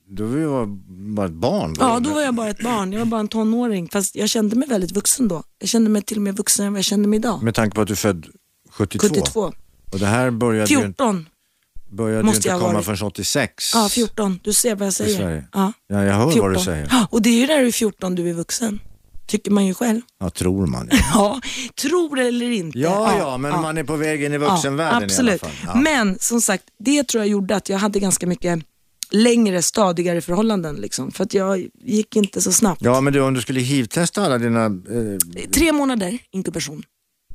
Speaker 2: då var jag bara ett barn.
Speaker 3: Ja, då var jag bara ett barn. Jag var bara en tonåring. Fast jag kände mig väldigt vuxen då. Jag kände mig till och med vuxen än vad jag kände mig idag.
Speaker 2: Med tanke på att du är född 72.
Speaker 3: 72.
Speaker 2: Och det här började ju,
Speaker 3: 14.
Speaker 2: började ju
Speaker 3: måste
Speaker 2: inte
Speaker 3: jag ha
Speaker 2: komma
Speaker 3: varit.
Speaker 2: förrän 86.
Speaker 3: Ja, 14. Du ser vad jag
Speaker 2: I Sverige.
Speaker 3: säger. Ja.
Speaker 2: Ja, jag hör vad du säger.
Speaker 3: Ja, Och det är ju när du är 14 du är vuxen. Tycker man ju själv.
Speaker 2: Ja, tror man.
Speaker 3: Ja, tror eller inte.
Speaker 2: Ja, ja, men man är på väg in i vuxenvärlden
Speaker 3: absolut.
Speaker 2: i alla fall. Ja.
Speaker 3: Men som sagt, det tror jag gjorde att jag hade ganska mycket längre, stadigare förhållanden. Liksom, för att jag gick inte så snabbt.
Speaker 2: Ja, men du, om du skulle hivtesta alla dina... Eh,
Speaker 3: Tre månader inkubation.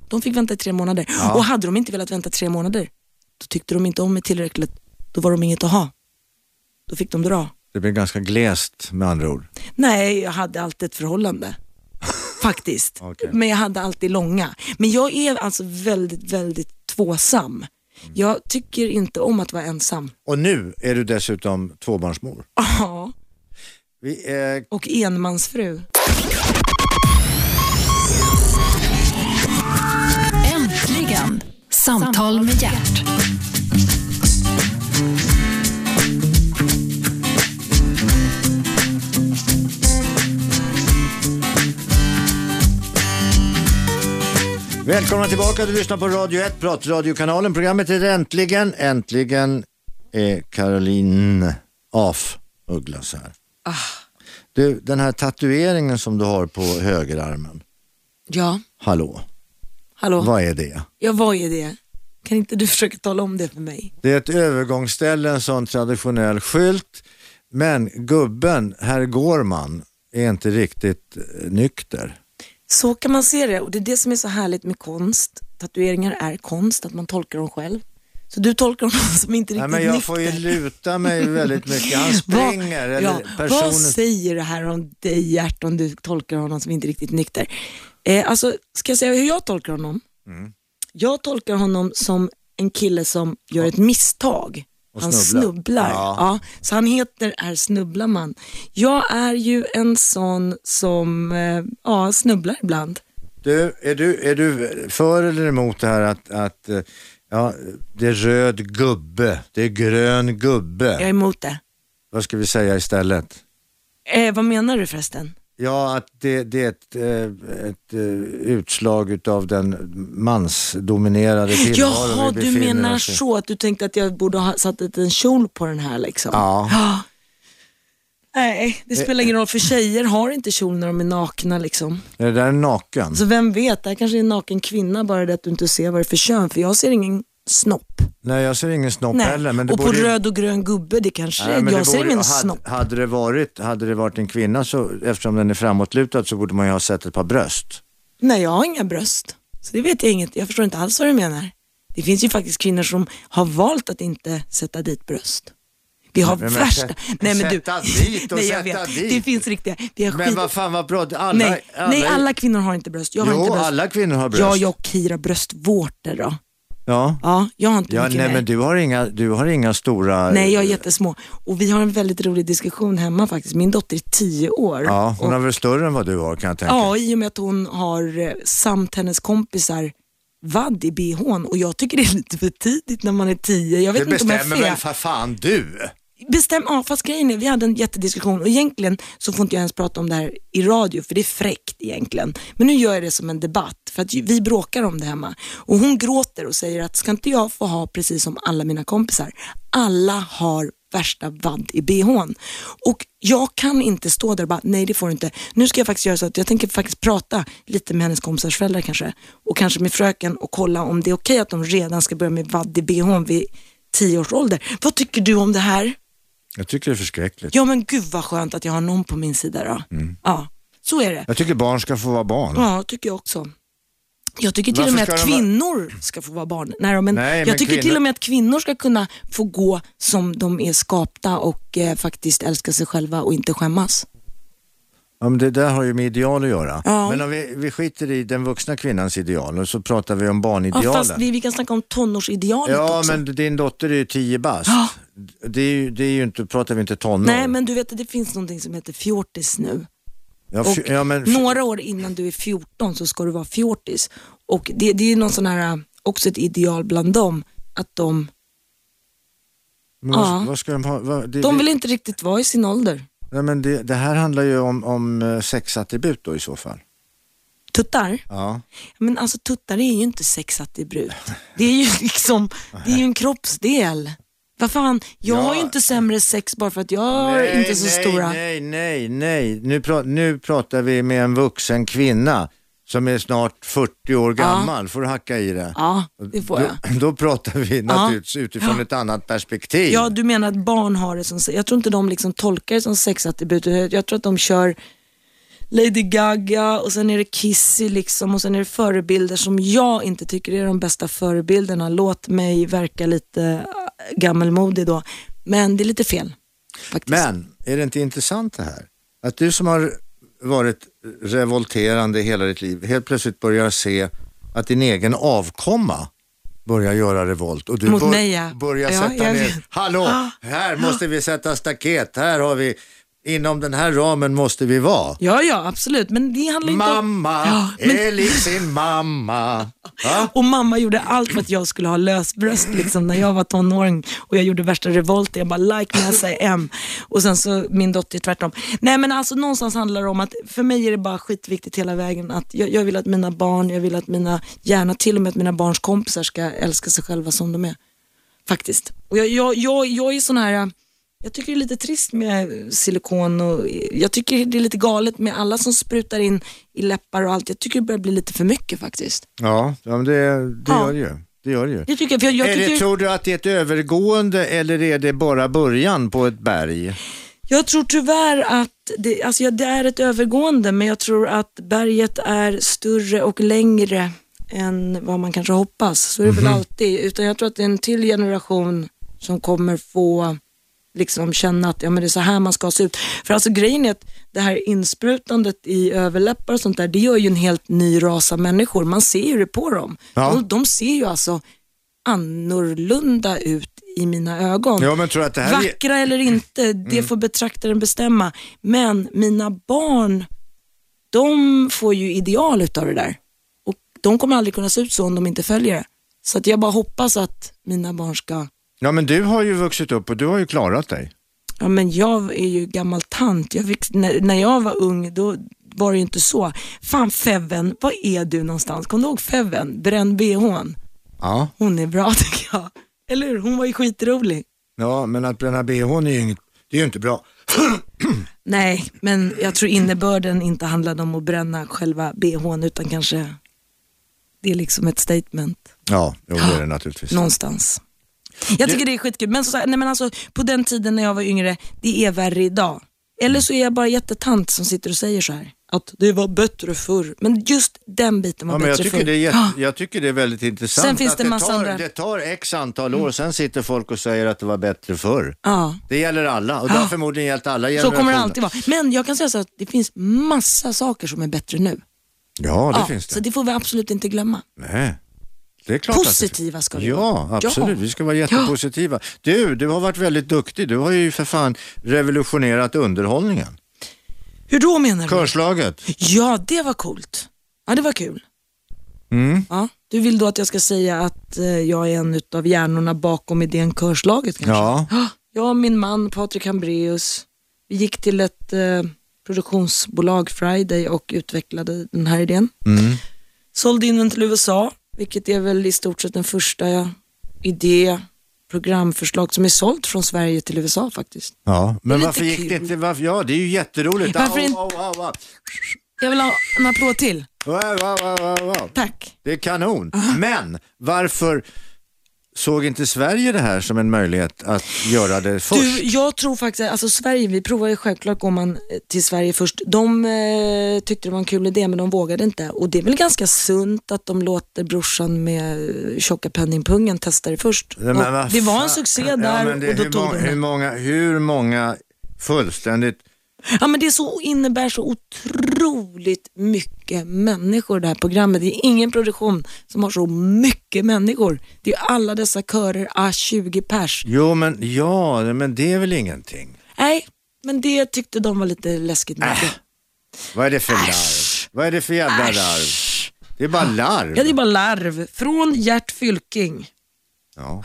Speaker 3: De fick vänta i tre månader. Och hade de inte velat vänta tre månader, då tyckte de inte om mig tillräckligt. Då var de inget att ha. Då fick de dra.
Speaker 2: det blir ganska glest med andra ord.
Speaker 3: Nej, jag hade alltid ett förhållande. Faktiskt.
Speaker 2: Okej.
Speaker 3: Men jag hade alltid långa. Men jag är alltså väldigt, väldigt tvåsam. Jag tycker inte om att vara ensam.
Speaker 2: Och nu är du dessutom tvåbarnsmor.
Speaker 3: Ja,
Speaker 2: Vi, eh,
Speaker 3: och enmansfru.
Speaker 1: Äntligen! Samtal med hjärt.
Speaker 2: välkomna tillbaka, du lyssnar på Radio 1, pratradiokanalen. Programmet heter Äntligen. Äntligen är Caroline af Ugglas här.
Speaker 3: Ah.
Speaker 2: Du, den här tatueringen som du har på högerarmen,
Speaker 3: Ja,
Speaker 2: hallå,
Speaker 3: hallå.
Speaker 2: vad är det?
Speaker 3: Ja, vad är det? Kan inte du försöka tala om det för mig?
Speaker 2: Det är ett övergångsställe, en sån traditionell skylt. Men gubben, herr Gårman, är inte riktigt eh, nykter.
Speaker 3: Så kan man se det och det är det som är så härligt med konst. Tatueringar är konst, att man tolkar dem själv. Så du tolkar dem som inte
Speaker 2: Nej,
Speaker 3: riktigt
Speaker 2: men jag
Speaker 3: nykter.
Speaker 2: får ju luta mig väldigt mycket. Han springer.
Speaker 3: vad,
Speaker 2: eller
Speaker 3: ja,
Speaker 2: personen...
Speaker 3: vad säger det här om dig Gert om du tolkar honom som inte riktigt nykter? Eh, alltså, ska jag säga hur jag tolkar honom?
Speaker 2: Mm.
Speaker 3: Jag tolkar honom som en kille som gör ett misstag.
Speaker 2: Och
Speaker 3: han
Speaker 2: snubblar.
Speaker 3: snubblar.
Speaker 2: Ja.
Speaker 3: Ja. så han heter är Snubblaman. Jag är ju en sån som eh, ja, snubblar ibland.
Speaker 2: Du, är, du, är du för eller emot det här att, att eh, ja, det är röd gubbe, det är grön gubbe.
Speaker 3: Jag är emot det.
Speaker 2: Vad ska vi säga istället?
Speaker 3: Eh, vad menar du förresten?
Speaker 2: Ja, att det, det är ett, eh, ett eh, utslag utav den mansdominerade tillvaron
Speaker 3: Jaha,
Speaker 2: vi
Speaker 3: du
Speaker 2: befinner
Speaker 3: menar
Speaker 2: oss i.
Speaker 3: så att du tänkte att jag borde ha satt en liten kjol på den här liksom?
Speaker 2: Ja. Eh,
Speaker 3: Nej, det spelar ingen roll för tjejer har inte kjol när de är nakna liksom.
Speaker 2: Är det där naken?
Speaker 3: Så vem vet, det här kanske är en naken kvinna bara det att du inte ser vad det är för kön för jag ser ingen snopp.
Speaker 2: Nej, jag ser ingen snopp
Speaker 3: Nej.
Speaker 2: heller. Men det
Speaker 3: och på
Speaker 2: borde ju-
Speaker 3: röd och grön gubbe, det kanske
Speaker 2: Nej, men
Speaker 3: jag
Speaker 2: det
Speaker 3: ser
Speaker 2: borde-
Speaker 3: ingen
Speaker 2: hade,
Speaker 3: snopp.
Speaker 2: Hade det, varit, hade det varit en kvinna, så, eftersom den är framåtlutad, så borde man ju ha sett ett par bröst.
Speaker 3: Nej, jag har inga bröst. Så det vet jag inget, jag förstår inte alls vad du menar. Det finns ju faktiskt kvinnor som har valt att inte sätta dit bröst. Vi har
Speaker 2: Men- men
Speaker 3: värsta...
Speaker 2: sätt-
Speaker 3: Nej, men du...
Speaker 2: sätta dit och
Speaker 3: Nej, jag
Speaker 2: sätta
Speaker 3: vet.
Speaker 2: dit.
Speaker 3: Det finns riktiga... Vi har
Speaker 2: Men
Speaker 3: skit-
Speaker 2: vad fan vad bra, alla,
Speaker 3: Nej, nej, alla kvinnor har inte bröst. Jag har
Speaker 2: Jo,
Speaker 3: inte bröst.
Speaker 2: alla kvinnor har bröst.
Speaker 3: Ja, jag och Kira bröstvårtor då.
Speaker 2: Ja.
Speaker 3: Ja, jag har inte
Speaker 2: Ja,
Speaker 3: mycket
Speaker 2: nej,
Speaker 3: mer.
Speaker 2: men du har, inga, du har inga stora...
Speaker 3: Nej, jag är jättesmå. Och vi har en väldigt rolig diskussion hemma faktiskt. Min dotter är tio år.
Speaker 2: Ja, hon
Speaker 3: och,
Speaker 2: har väl större än vad du har kan jag tänka.
Speaker 3: ja i och med att hon har eh, samt hennes kompisar vadd i bhn och jag tycker det är lite för tidigt när man är tio. Jag vet
Speaker 2: det
Speaker 3: inte om jag är
Speaker 2: bestämmer väl
Speaker 3: fel.
Speaker 2: för fan du?
Speaker 3: Bestäm, ja, fast grejen är, vi hade en jättediskussion och egentligen så får inte jag ens prata om det här i radio för det är fräckt egentligen. Men nu gör jag det som en debatt för att ju- vi bråkar om det hemma och hon gråter och säger att ska inte jag få ha precis som alla mina kompisar? Alla har värsta vadd i bhn. Och jag kan inte stå där och bara, nej det får du inte. Nu ska jag faktiskt göra så att jag tänker faktiskt prata lite med hennes kompisars föräldrar kanske och kanske med fröken och kolla om det är okej att de redan ska börja med vadd i bhn vid tio års ålder. Vad tycker du om det här?
Speaker 2: Jag tycker det är förskräckligt.
Speaker 3: Ja men gud vad skönt att jag har någon på min sida då.
Speaker 2: Mm.
Speaker 3: Ja, så är det.
Speaker 2: Jag tycker barn ska få vara barn.
Speaker 3: Ja, tycker jag också. Jag tycker till
Speaker 2: Varför
Speaker 3: och med
Speaker 2: ska
Speaker 3: att
Speaker 2: de vara-
Speaker 3: kvinnor ska få vara barn. Nej, då, men
Speaker 2: Nej,
Speaker 3: jag
Speaker 2: men
Speaker 3: tycker
Speaker 2: kvinnor-
Speaker 3: till och med att kvinnor ska kunna få gå som de är skapta och eh, faktiskt älska sig själva och inte skämmas.
Speaker 2: Ja, men det där har ju med ideal att göra.
Speaker 3: Ja.
Speaker 2: Men om vi, vi skiter i den vuxna kvinnans ideal och så pratar vi om
Speaker 3: Ja,
Speaker 2: barnidealen.
Speaker 3: fast vi, vi kan snacka om tonårsidealet
Speaker 2: Ja,
Speaker 3: också.
Speaker 2: men din dotter är ju tio bast.
Speaker 3: Ja.
Speaker 2: Det, är ju, det är ju inte, pratar vi inte tonår.
Speaker 3: Nej, men du vet det finns någonting som heter fjortis nu.
Speaker 2: ja,
Speaker 3: Och
Speaker 2: fj- ja, men,
Speaker 3: Några år innan du är 14 så ska du vara fjortis. Och det, det är någon sån här, eh, också ett ideal bland dem, att de,
Speaker 2: men vad,
Speaker 3: ja.
Speaker 2: vad ska de ha? Vad, det,
Speaker 3: de
Speaker 2: det-
Speaker 3: vill inte riktigt vara i sin ålder.
Speaker 2: nej, men det, det här handlar ju om, om eh, sexattribut då i så fall.
Speaker 3: Tuttar?
Speaker 2: Ja.
Speaker 3: Men alltså tuttar är ju inte sexattribut. Det är ju liksom, det är ju en kroppsdel. Vad fan, jag
Speaker 2: Ja.
Speaker 3: har ju inte sämre sex bara för att jag har inte så
Speaker 2: nej,
Speaker 3: stora.
Speaker 2: Nej, nej, nej. Nu, pra, nu pratar vi med en vuxen kvinna som är snart 40 år gammal. Får du hacka i det?
Speaker 3: Ja, det får jag.
Speaker 2: Då, då pratar vi naturligtvis utifrån ett annat perspektiv.
Speaker 3: Ja, du menar att barn har det som se- Jag tror inte de liksom tolkar det som sexattribut. Jag jag tror att de kör Lady Gaga och sen är det Kissy liksom och sen är det förebilder som jag inte tycker är de bästa förebilderna. Låt mig verka lite äh, gammelmodig då. Men det är lite fel faktiskt.
Speaker 2: Men är det inte intressant det här? Att du som har varit revolterande hela ditt liv helt plötsligt börjar se att din egen avkomma börjar göra revolt och du
Speaker 3: Mot mig, ja.
Speaker 2: börjar
Speaker 3: Ja,
Speaker 2: sätta
Speaker 3: jag
Speaker 2: ner,
Speaker 3: vet.
Speaker 2: hallå, här måste vi sätta staket, här har vi, inom den här ramen måste vi vara.
Speaker 3: Ja, ja, absolut. Men det handlar inte om...
Speaker 2: Mamma
Speaker 3: Ja,
Speaker 2: är lik sin mamma. Va?
Speaker 3: Och mamma gjorde allt för att jag skulle ha lösbröst liksom, när jag var tonåring och jag gjorde värsta revolten. Jag bara like me as I am. Och sen så min dotter tvärtom. Nej men alltså någonstans handlar det om att för mig är det bara skitviktigt hela vägen att jag, jag vill att mina barn, jag vill att mina, gärna till och med att mina barns kompisar ska älska sig själva som de är. Faktiskt. Och jag, jag, jag, jag är sån här, jag tycker det är lite trist med silikon och jag tycker det är lite galet med alla som sprutar in i läppar och allt. Jag tycker det börjar bli lite för mycket faktiskt.
Speaker 2: Ja, ja men det, det gör
Speaker 3: Ja.
Speaker 2: det ju. Det gör det ju.
Speaker 3: Det tycker jag, för jag, jag
Speaker 2: är
Speaker 3: tycker...
Speaker 2: det, tror du att det är ett övergående eller är det bara början på ett berg?
Speaker 3: Jag tror tyvärr att det, alltså ja, det är ett övergående, men jag tror att berget är större och längre än vad man kanske hoppas. Så är det
Speaker 2: Mhm.
Speaker 3: väl alltid. Utan jag tror att det är en till generation som kommer få liksom känna att ja, men det är så här man ska se ut. För alltså grejen är att det här insprutandet i överläppar och sånt där, det gör ju en helt ny ras av människor. Man ser ju det på dem.
Speaker 2: Ja.
Speaker 3: De, de ser ju alltså annorlunda ut i mina ögon.
Speaker 2: Ja, men tror du att det här är... Mm.
Speaker 3: Vackra eller inte, det får betraktaren bestämma. Men mina barn, de får ju ideal utav det där. Och de kommer aldrig kunna se ut så om de inte följer det. Så att jag bara hoppas att mina barn ska...
Speaker 2: Ja men du har ju vuxit upp och du har ju klarat dig.
Speaker 3: Ja, men jag är ju gammal tant. Jag fick, när, när jag var ung, då var det ju inte så. Fan Feven, var är du någonstans? Kommer du ihåg Feven? Bränn bhn.
Speaker 2: Ja.
Speaker 3: Hon är bra tycker jag. Eller hur? Hon var ju skitrolig.
Speaker 2: Ja men att bränna bhn är ju inget, det är ju inte bra.
Speaker 3: Nej, men jag tror innebörden inte handlade om att bränna själva bhn utan kanske det är liksom ett statement
Speaker 2: Ja, jo, det är
Speaker 3: Ah,
Speaker 2: det naturligtvis.
Speaker 3: någonstans. Jag tycker det är skitkul, men, så, nej, men alltså, på den tiden när jag var yngre, det är värre idag. Eller så är jag bara jättetant som sitter och säger så här, att det var bättre förr. Men just den biten var
Speaker 2: Ja, men jag,
Speaker 3: bättre
Speaker 2: tycker det är
Speaker 3: förr.
Speaker 2: jätte,
Speaker 3: Ja.
Speaker 2: jag tycker det är väldigt intressant
Speaker 3: Sen finns
Speaker 2: att
Speaker 3: det massa
Speaker 2: tar,
Speaker 3: andra- Mm.
Speaker 2: det tar x antal år, sen sitter folk och säger att det var bättre förr.
Speaker 3: Ja.
Speaker 2: Det gäller alla och det har förmodligen gällt alla
Speaker 3: Så
Speaker 2: generationer.
Speaker 3: kommer det alltid vara. Men jag kan säga så att det finns massa saker som är bättre nu.
Speaker 2: Ja, det
Speaker 3: ja,
Speaker 2: finns det.
Speaker 3: Så det får vi absolut inte glömma.
Speaker 2: Nej. Det är klart att det finns.
Speaker 3: Positiva ska vi
Speaker 2: Ja,
Speaker 3: vara.
Speaker 2: absolut. Vi ska vara jättepositiva. Du, du har varit väldigt duktig. Du har ju för fan revolutionerat underhållningen.
Speaker 3: Hur då menar du?
Speaker 2: Körslaget.
Speaker 3: Ja, det var coolt. Ja, det var kul.
Speaker 2: Mm.
Speaker 3: Ja, du vill då att jag ska säga att eh, jag är en utav hjärnorna bakom idén Körslaget kanske?
Speaker 2: Ja.
Speaker 3: Ah, Jag och min man Patrik Hambreus, vi gick till ett eh, produktionsbolag Friday och utvecklade den här idén.
Speaker 2: Mm.
Speaker 3: Sålde in den till USA, vilket är väl i stort sett den första idé, programförslag som är sålt från Sverige till USA faktiskt.
Speaker 2: Ja, men
Speaker 3: lite
Speaker 2: varför gick det
Speaker 3: kul.
Speaker 2: inte? Varför, ja, det är ju jätteroligt.
Speaker 3: Varför
Speaker 2: Au,
Speaker 3: inte-
Speaker 2: au, au, au.
Speaker 3: Jag vill ha en applåd till.
Speaker 2: Au, au, au, au, au.
Speaker 3: Tack.
Speaker 2: Det är kanon.
Speaker 3: Ah.
Speaker 2: Men varför såg inte Sverige det här som en möjlighet att göra det först?
Speaker 3: Du, jag tror faktiskt, alltså Sverige, vi provade ju självklart går man eh, till Sverige först. De eh, tyckte det var en kul idé men de vågade inte. Och det är väl ganska sunt att de låter brorsan med eh, tjocka penningpungen testa det först.
Speaker 2: Nej, men
Speaker 3: Och
Speaker 2: vad
Speaker 3: det var
Speaker 2: fan.
Speaker 3: en succé
Speaker 2: Ja,
Speaker 3: där
Speaker 2: men det-
Speaker 3: och då
Speaker 2: hur,
Speaker 3: tog
Speaker 2: många,
Speaker 3: de
Speaker 2: hur
Speaker 3: den.
Speaker 2: många, hur många fullständigt,
Speaker 3: Ja men det så, innebär så otroligt mycket människor det här programmet. Det är ingen produktion som har så mycket människor. Det är alla dessa körer, ah, 20 pers.
Speaker 2: jo men ja, men det är väl ingenting.
Speaker 3: Nej, men det tyckte de var lite läskigt
Speaker 2: Äh,
Speaker 3: mycket.
Speaker 2: Vad är det för larv? Vad är det för jävla larv? Det är bara larv.
Speaker 3: Ja, det är bara larv. Från Gert Fylking.
Speaker 2: Ja.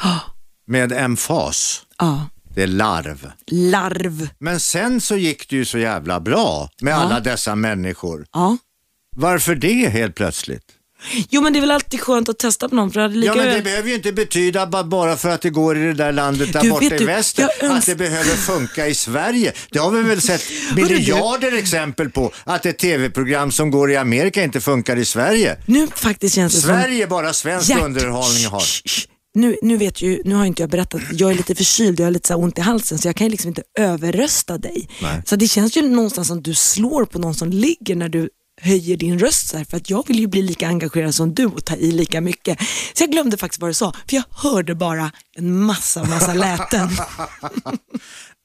Speaker 2: Med emfas.
Speaker 3: Ja,
Speaker 2: Det är larv.
Speaker 3: larv.
Speaker 2: Men sen så gick det ju så jävla bra med alla dessa människor.
Speaker 3: Ja.
Speaker 2: Varför det helt plötsligt?
Speaker 3: Jo, men det är väl alltid skönt att testa på någon för det hade lika
Speaker 2: Ja, men det
Speaker 3: väl-
Speaker 2: behöver ju inte betyda ba- bara för att det går i det där landet där
Speaker 3: Du,
Speaker 2: borta
Speaker 3: vet
Speaker 2: i
Speaker 3: du,
Speaker 2: väster,
Speaker 3: jag
Speaker 2: att det
Speaker 3: öns-
Speaker 2: behöver funka i Sverige. Det har vi väl sett
Speaker 3: du?
Speaker 2: miljarder exempel på, att ett tv-program som går i Amerika inte funkar i Sverige.
Speaker 3: Nu faktiskt känns det som...
Speaker 2: Sverige bara svensk
Speaker 3: Gert-
Speaker 2: underhållning har.
Speaker 3: Shh, shh, shh. Nu, nu vet ju, nu har inte jag berättat, jag är lite förkyld, jag har lite så här ont i halsen så jag kan ju liksom inte överrösta dig.
Speaker 2: Nej.
Speaker 3: Så det känns ju någonstans som du slår på någon som ligger när du höjer din röst så här, för att jag vill ju bli lika engagerad som du och ta i lika mycket. Så jag glömde faktiskt vad du sa, för jag hörde bara en massa, massa läten.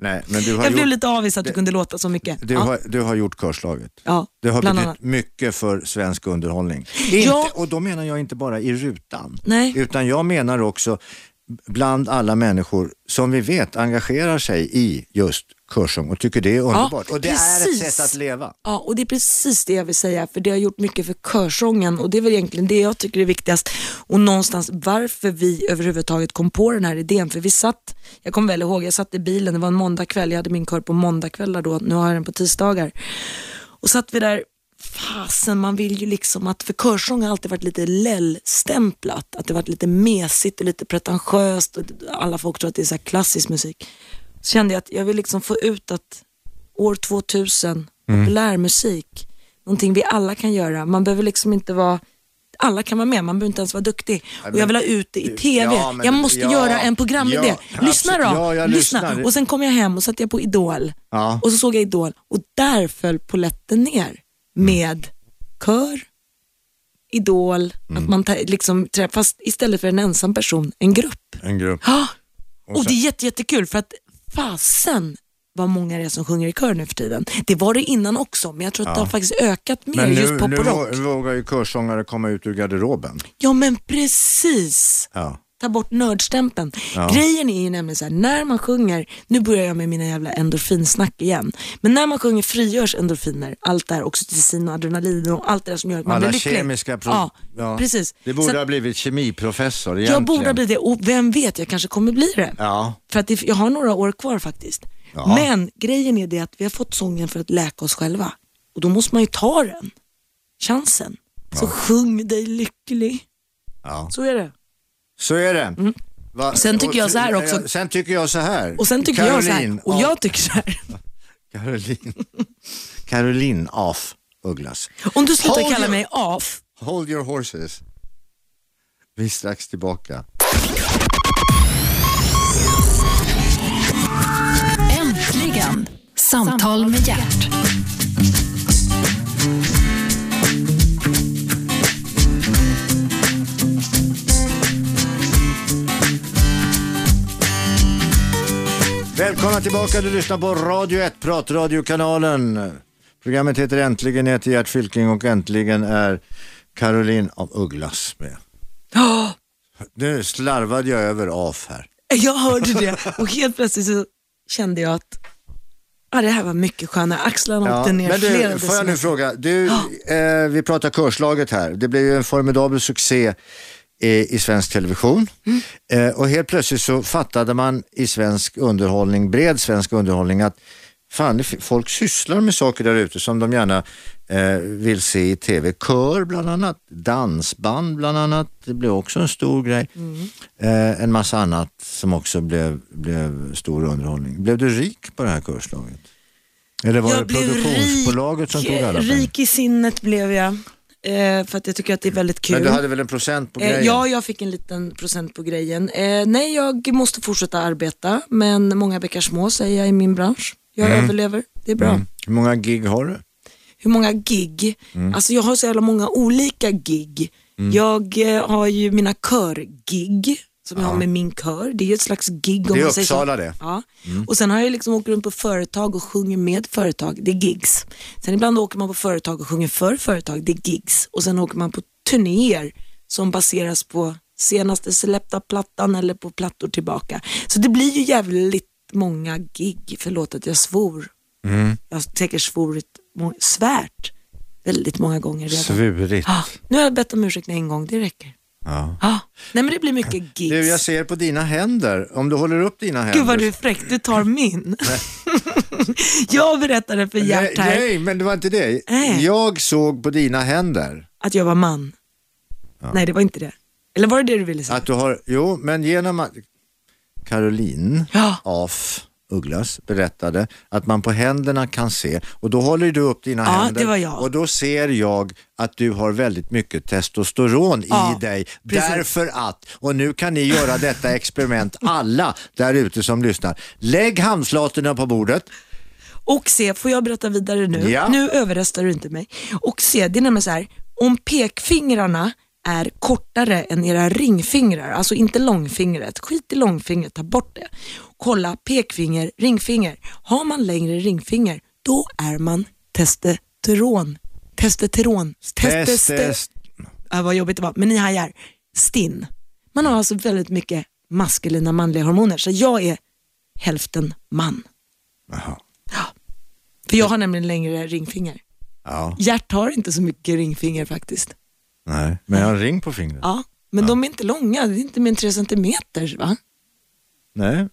Speaker 2: Nej, men du har,
Speaker 3: Jag blev
Speaker 2: gjort,
Speaker 3: lite avis att du kunde låta så mycket.
Speaker 2: du
Speaker 3: ja.
Speaker 2: har, du har gjort körslaget.
Speaker 3: Ja,
Speaker 2: Det har
Speaker 3: bland
Speaker 2: betytt
Speaker 3: annat.
Speaker 2: mycket för svensk underhållning.
Speaker 3: Ja.
Speaker 2: Inte, och då menar jag inte bara i rutan.
Speaker 3: Nej.
Speaker 2: Utan jag menar också bland alla människor som vi vet engagerar sig i just körsång och tycker det är underbart. och det
Speaker 3: precis.
Speaker 2: är ett sätt att leva.
Speaker 3: Ja, och det är precis det jag vill säga, för det har gjort mycket för körsången och det är väl egentligen det jag tycker är viktigast och någonstans varför vi överhuvudtaget kom på den här idén. För vi satt, jag kommer väl ihåg, jag satt i bilen, det var en måndagkväll, jag hade min kör på måndagkvällar då, nu har jag den på tisdagar. Och satt vi där, fasen man vill ju liksom att, för körsång har alltid varit lite lällstämplat, att det varit lite mesigt och lite pretentiöst och alla folk tror att det är så här klassisk musik. Så kände jag att jag vill liksom få ut att år 2000, populär musik, någonting vi alla kan göra. Man behöver liksom inte vara alla kan vara med, man behöver inte ens vara duktig. och jag vill ha ut det i TV.
Speaker 2: ja, men-
Speaker 3: jag måste
Speaker 2: ja,
Speaker 3: göra en programidé.
Speaker 2: ja,
Speaker 3: lyssna då.
Speaker 2: absolut. Ja, jag lyssnar.
Speaker 3: Och sen kom jag hem och satte jag på Idol.
Speaker 2: Ja. Mm.
Speaker 3: Och så såg jag Idol och där föll poletten ner med kör, Idol,
Speaker 2: Mm.
Speaker 3: att man ta- liksom träffas istället för en ensam person, en grupp.
Speaker 2: En grupp.
Speaker 3: Ja. Och,
Speaker 2: sen-
Speaker 3: det är jätte, jättekul för att fasen vad många det är som sjunger i kör nu för tiden. Det var det innan också, men jag tror att det har faktiskt ökat mer
Speaker 2: Men nu,
Speaker 3: just pop
Speaker 2: nu
Speaker 3: och rock.
Speaker 2: vå- vågar ju körsångare komma ut ur garderoben.
Speaker 3: Ja, men precis.
Speaker 2: Ja.
Speaker 3: Ta bort nördstämpeln. Grejen är ju nämligen så här, när man sjunger, nu börjar jag med mina jävla endorfinsnack igen, men när man sjunger frigörs endorfiner, allt det här, oxytocin och adrenalin och allt det där som gör att man
Speaker 2: Alla
Speaker 3: blir lycklig.
Speaker 2: kemiska pro-
Speaker 3: ja,
Speaker 2: Ja.
Speaker 3: precis.
Speaker 2: Det borde
Speaker 3: så
Speaker 2: ha
Speaker 3: att
Speaker 2: blivit kemiprofessor egentligen.
Speaker 3: jag borde bli det och vem vet, jag kanske kommer bli det.
Speaker 2: Ja.
Speaker 3: För att det, jag har några år kvar faktiskt.
Speaker 2: Ja.
Speaker 3: Men grejen är det att vi har fått sången för att läka oss själva och då måste man ju ta den chansen. Så sjung dig lycklig.
Speaker 2: Ja.
Speaker 3: Så är det.
Speaker 2: Så är det. Va-
Speaker 3: Mm. Sen tycker
Speaker 2: och-
Speaker 3: jag så här också.
Speaker 2: Sen tycker jag så här.
Speaker 3: Och sen tycker jag så
Speaker 2: Caroline,
Speaker 3: här, och
Speaker 2: ja.
Speaker 3: jag tycker så här.
Speaker 2: Caroline. Caroline af Ugglas.
Speaker 3: Om du slutar
Speaker 2: Hold
Speaker 3: kalla
Speaker 2: your-
Speaker 3: mig AF,
Speaker 2: Hold your horses. Vi är strax tillbaka.
Speaker 1: Äntligen! Samtal med hjärt.
Speaker 2: Välkomna tillbaka, du lyssnar på Radio 1, pratradiokanalen. Programmet heter Äntligen, jag heter Gert Fylking och äntligen är Caroline af Ugglas med.
Speaker 3: Ja,
Speaker 2: Nu slarvade jag över af här.
Speaker 3: jag hörde det och helt plötsligt så kände jag att ah, det här var mycket skönare. Axlarna åkte ner
Speaker 2: men
Speaker 3: flera
Speaker 2: du, får jag nu
Speaker 3: decimeter.
Speaker 2: fråga, du, eh, vi pratar körslaget här, det blev ju en formidabel succé eh, i svensk television
Speaker 3: Mm.
Speaker 2: eh, och helt plötsligt så fattade man i svensk underhållning, bred svensk underhållning att fan, det fi- folk sysslar med saker där ute som de gärna eh, vill se i tv. Kör bland annat, dansband bland annat, det blev också en stor grej.
Speaker 3: Mm.
Speaker 2: Eh, en massa annat som också blev, blev stor underhållning. Blev du rik på det här kurslaget? Eller var det produktionsbolaget som tog alla pengar?
Speaker 3: rik i sinnet blev jag. Eh, för att jag tycker att det är väldigt kul.
Speaker 2: Men du hade väl en procent på grejen?
Speaker 3: Eh, ja, jag fick en liten procent på grejen. Eh, nej, jag måste fortsätta arbeta, men många bäckar små säger jag i min bransch. Jag överlever, det är bra.
Speaker 2: Mm. Hur många gig har du?
Speaker 3: Hur många gig?
Speaker 2: Mm.
Speaker 3: Alltså jag har så jävla många olika gig. Jag eh, har ju mina körgig som jag har med min kör. Det är ju ett slags gig. Om
Speaker 2: Det är
Speaker 3: man säger så.
Speaker 2: Uppsala det. Mm.
Speaker 3: Ja. Och sen har jag liksom åkt runt på företag och sjunger med företag. Det är gigs. Sen ibland åker man på företag och sjunger för företag. Det är gigs. Och sen åker man på turnéer som baseras på senaste släppta plattan eller på plattor tillbaka. Så det blir ju jävligt många gig. Förlåt att jag svor. Jag har säkert svorit, må- svärt väldigt många gånger redan.
Speaker 2: Svurigt.
Speaker 3: ah, nu har jag bett om ursäkt en gång, det räcker.
Speaker 2: Ja.
Speaker 3: Ah, nej men det blir mycket gigs.
Speaker 2: Du, jag ser på dina händer. Om du håller upp dina händer.
Speaker 3: Gud vad du är fräck, du tar min. jag berättade för
Speaker 2: nej,
Speaker 3: Gert här
Speaker 2: nej, men det var inte det.
Speaker 3: Nej.
Speaker 2: Jag såg på dina händer
Speaker 3: att jag var man. Nej, det var inte det. Eller var det det du ville säga?
Speaker 2: att du har, jo, men genom att Caroline
Speaker 3: Ja.
Speaker 2: af Ugglas berättade att man på händerna kan se och då håller du upp dina
Speaker 3: Ja,
Speaker 2: händer
Speaker 3: det var jag.
Speaker 2: och då ser jag att du har väldigt mycket testosteron
Speaker 3: Ja,
Speaker 2: i dig.
Speaker 3: precis.
Speaker 2: Därför att, och nu kan ni göra detta experiment alla där ute som lyssnar. Lägg handflatorna på bordet.
Speaker 3: Och se, får jag berätta vidare nu?
Speaker 2: Ja.
Speaker 3: Nu överröstar du inte mig. Och se, det är nämligen så här, om pekfingrarna är kortare än era ringfingrar, alltså inte långfingret, skit i långfingret, ta bort det. Kolla pekfinger, ringfinger. Har man längre ringfinger, då är man testosteron. Testosteron. Testosteron.
Speaker 2: Test,
Speaker 3: Ja, vad jobbigt det var, men ni hajar. Stinn. Man har alltså väldigt mycket maskulina manliga hormoner, så jag är hälften man.
Speaker 2: Jaha.
Speaker 3: För jag har nämligen längre ringfinger.
Speaker 2: Ja,
Speaker 3: Gert har inte så mycket ringfinger faktiskt.
Speaker 2: nej. Men jag har en ring på fingret.
Speaker 3: Ja, men de är inte långa, det är inte mer än tre centimeter va?
Speaker 2: Nej.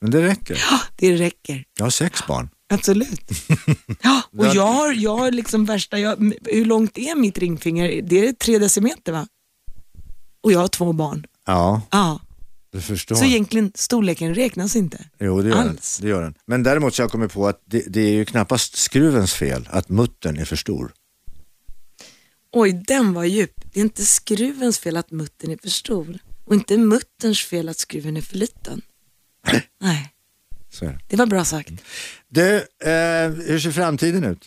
Speaker 2: Men det räcker.
Speaker 3: Ja, det räcker.
Speaker 2: Jag har sex barn.
Speaker 3: Absolut. Ja, och jag har, jag har liksom värsta, jag, m- hur långt är mitt ringfinger? Det är tre decimeter va? Och jag har två barn.
Speaker 2: Ja,
Speaker 3: Ja,
Speaker 2: du förstår.
Speaker 3: så egentligen storleken räknas inte.
Speaker 2: Jo, det gör, den.
Speaker 3: Alls.
Speaker 2: det gör den. Men däremot så har jag kommit på att det, det är ju knappast skruvens fel att muttern är för stor.
Speaker 3: Oj, den var djup. Det är inte skruvens fel att muttern är för stor och inte mutterns fel att skruven är för liten. Nej,
Speaker 2: Så är det.
Speaker 3: det var bra sagt.
Speaker 2: Du, eh, hur ser framtiden ut?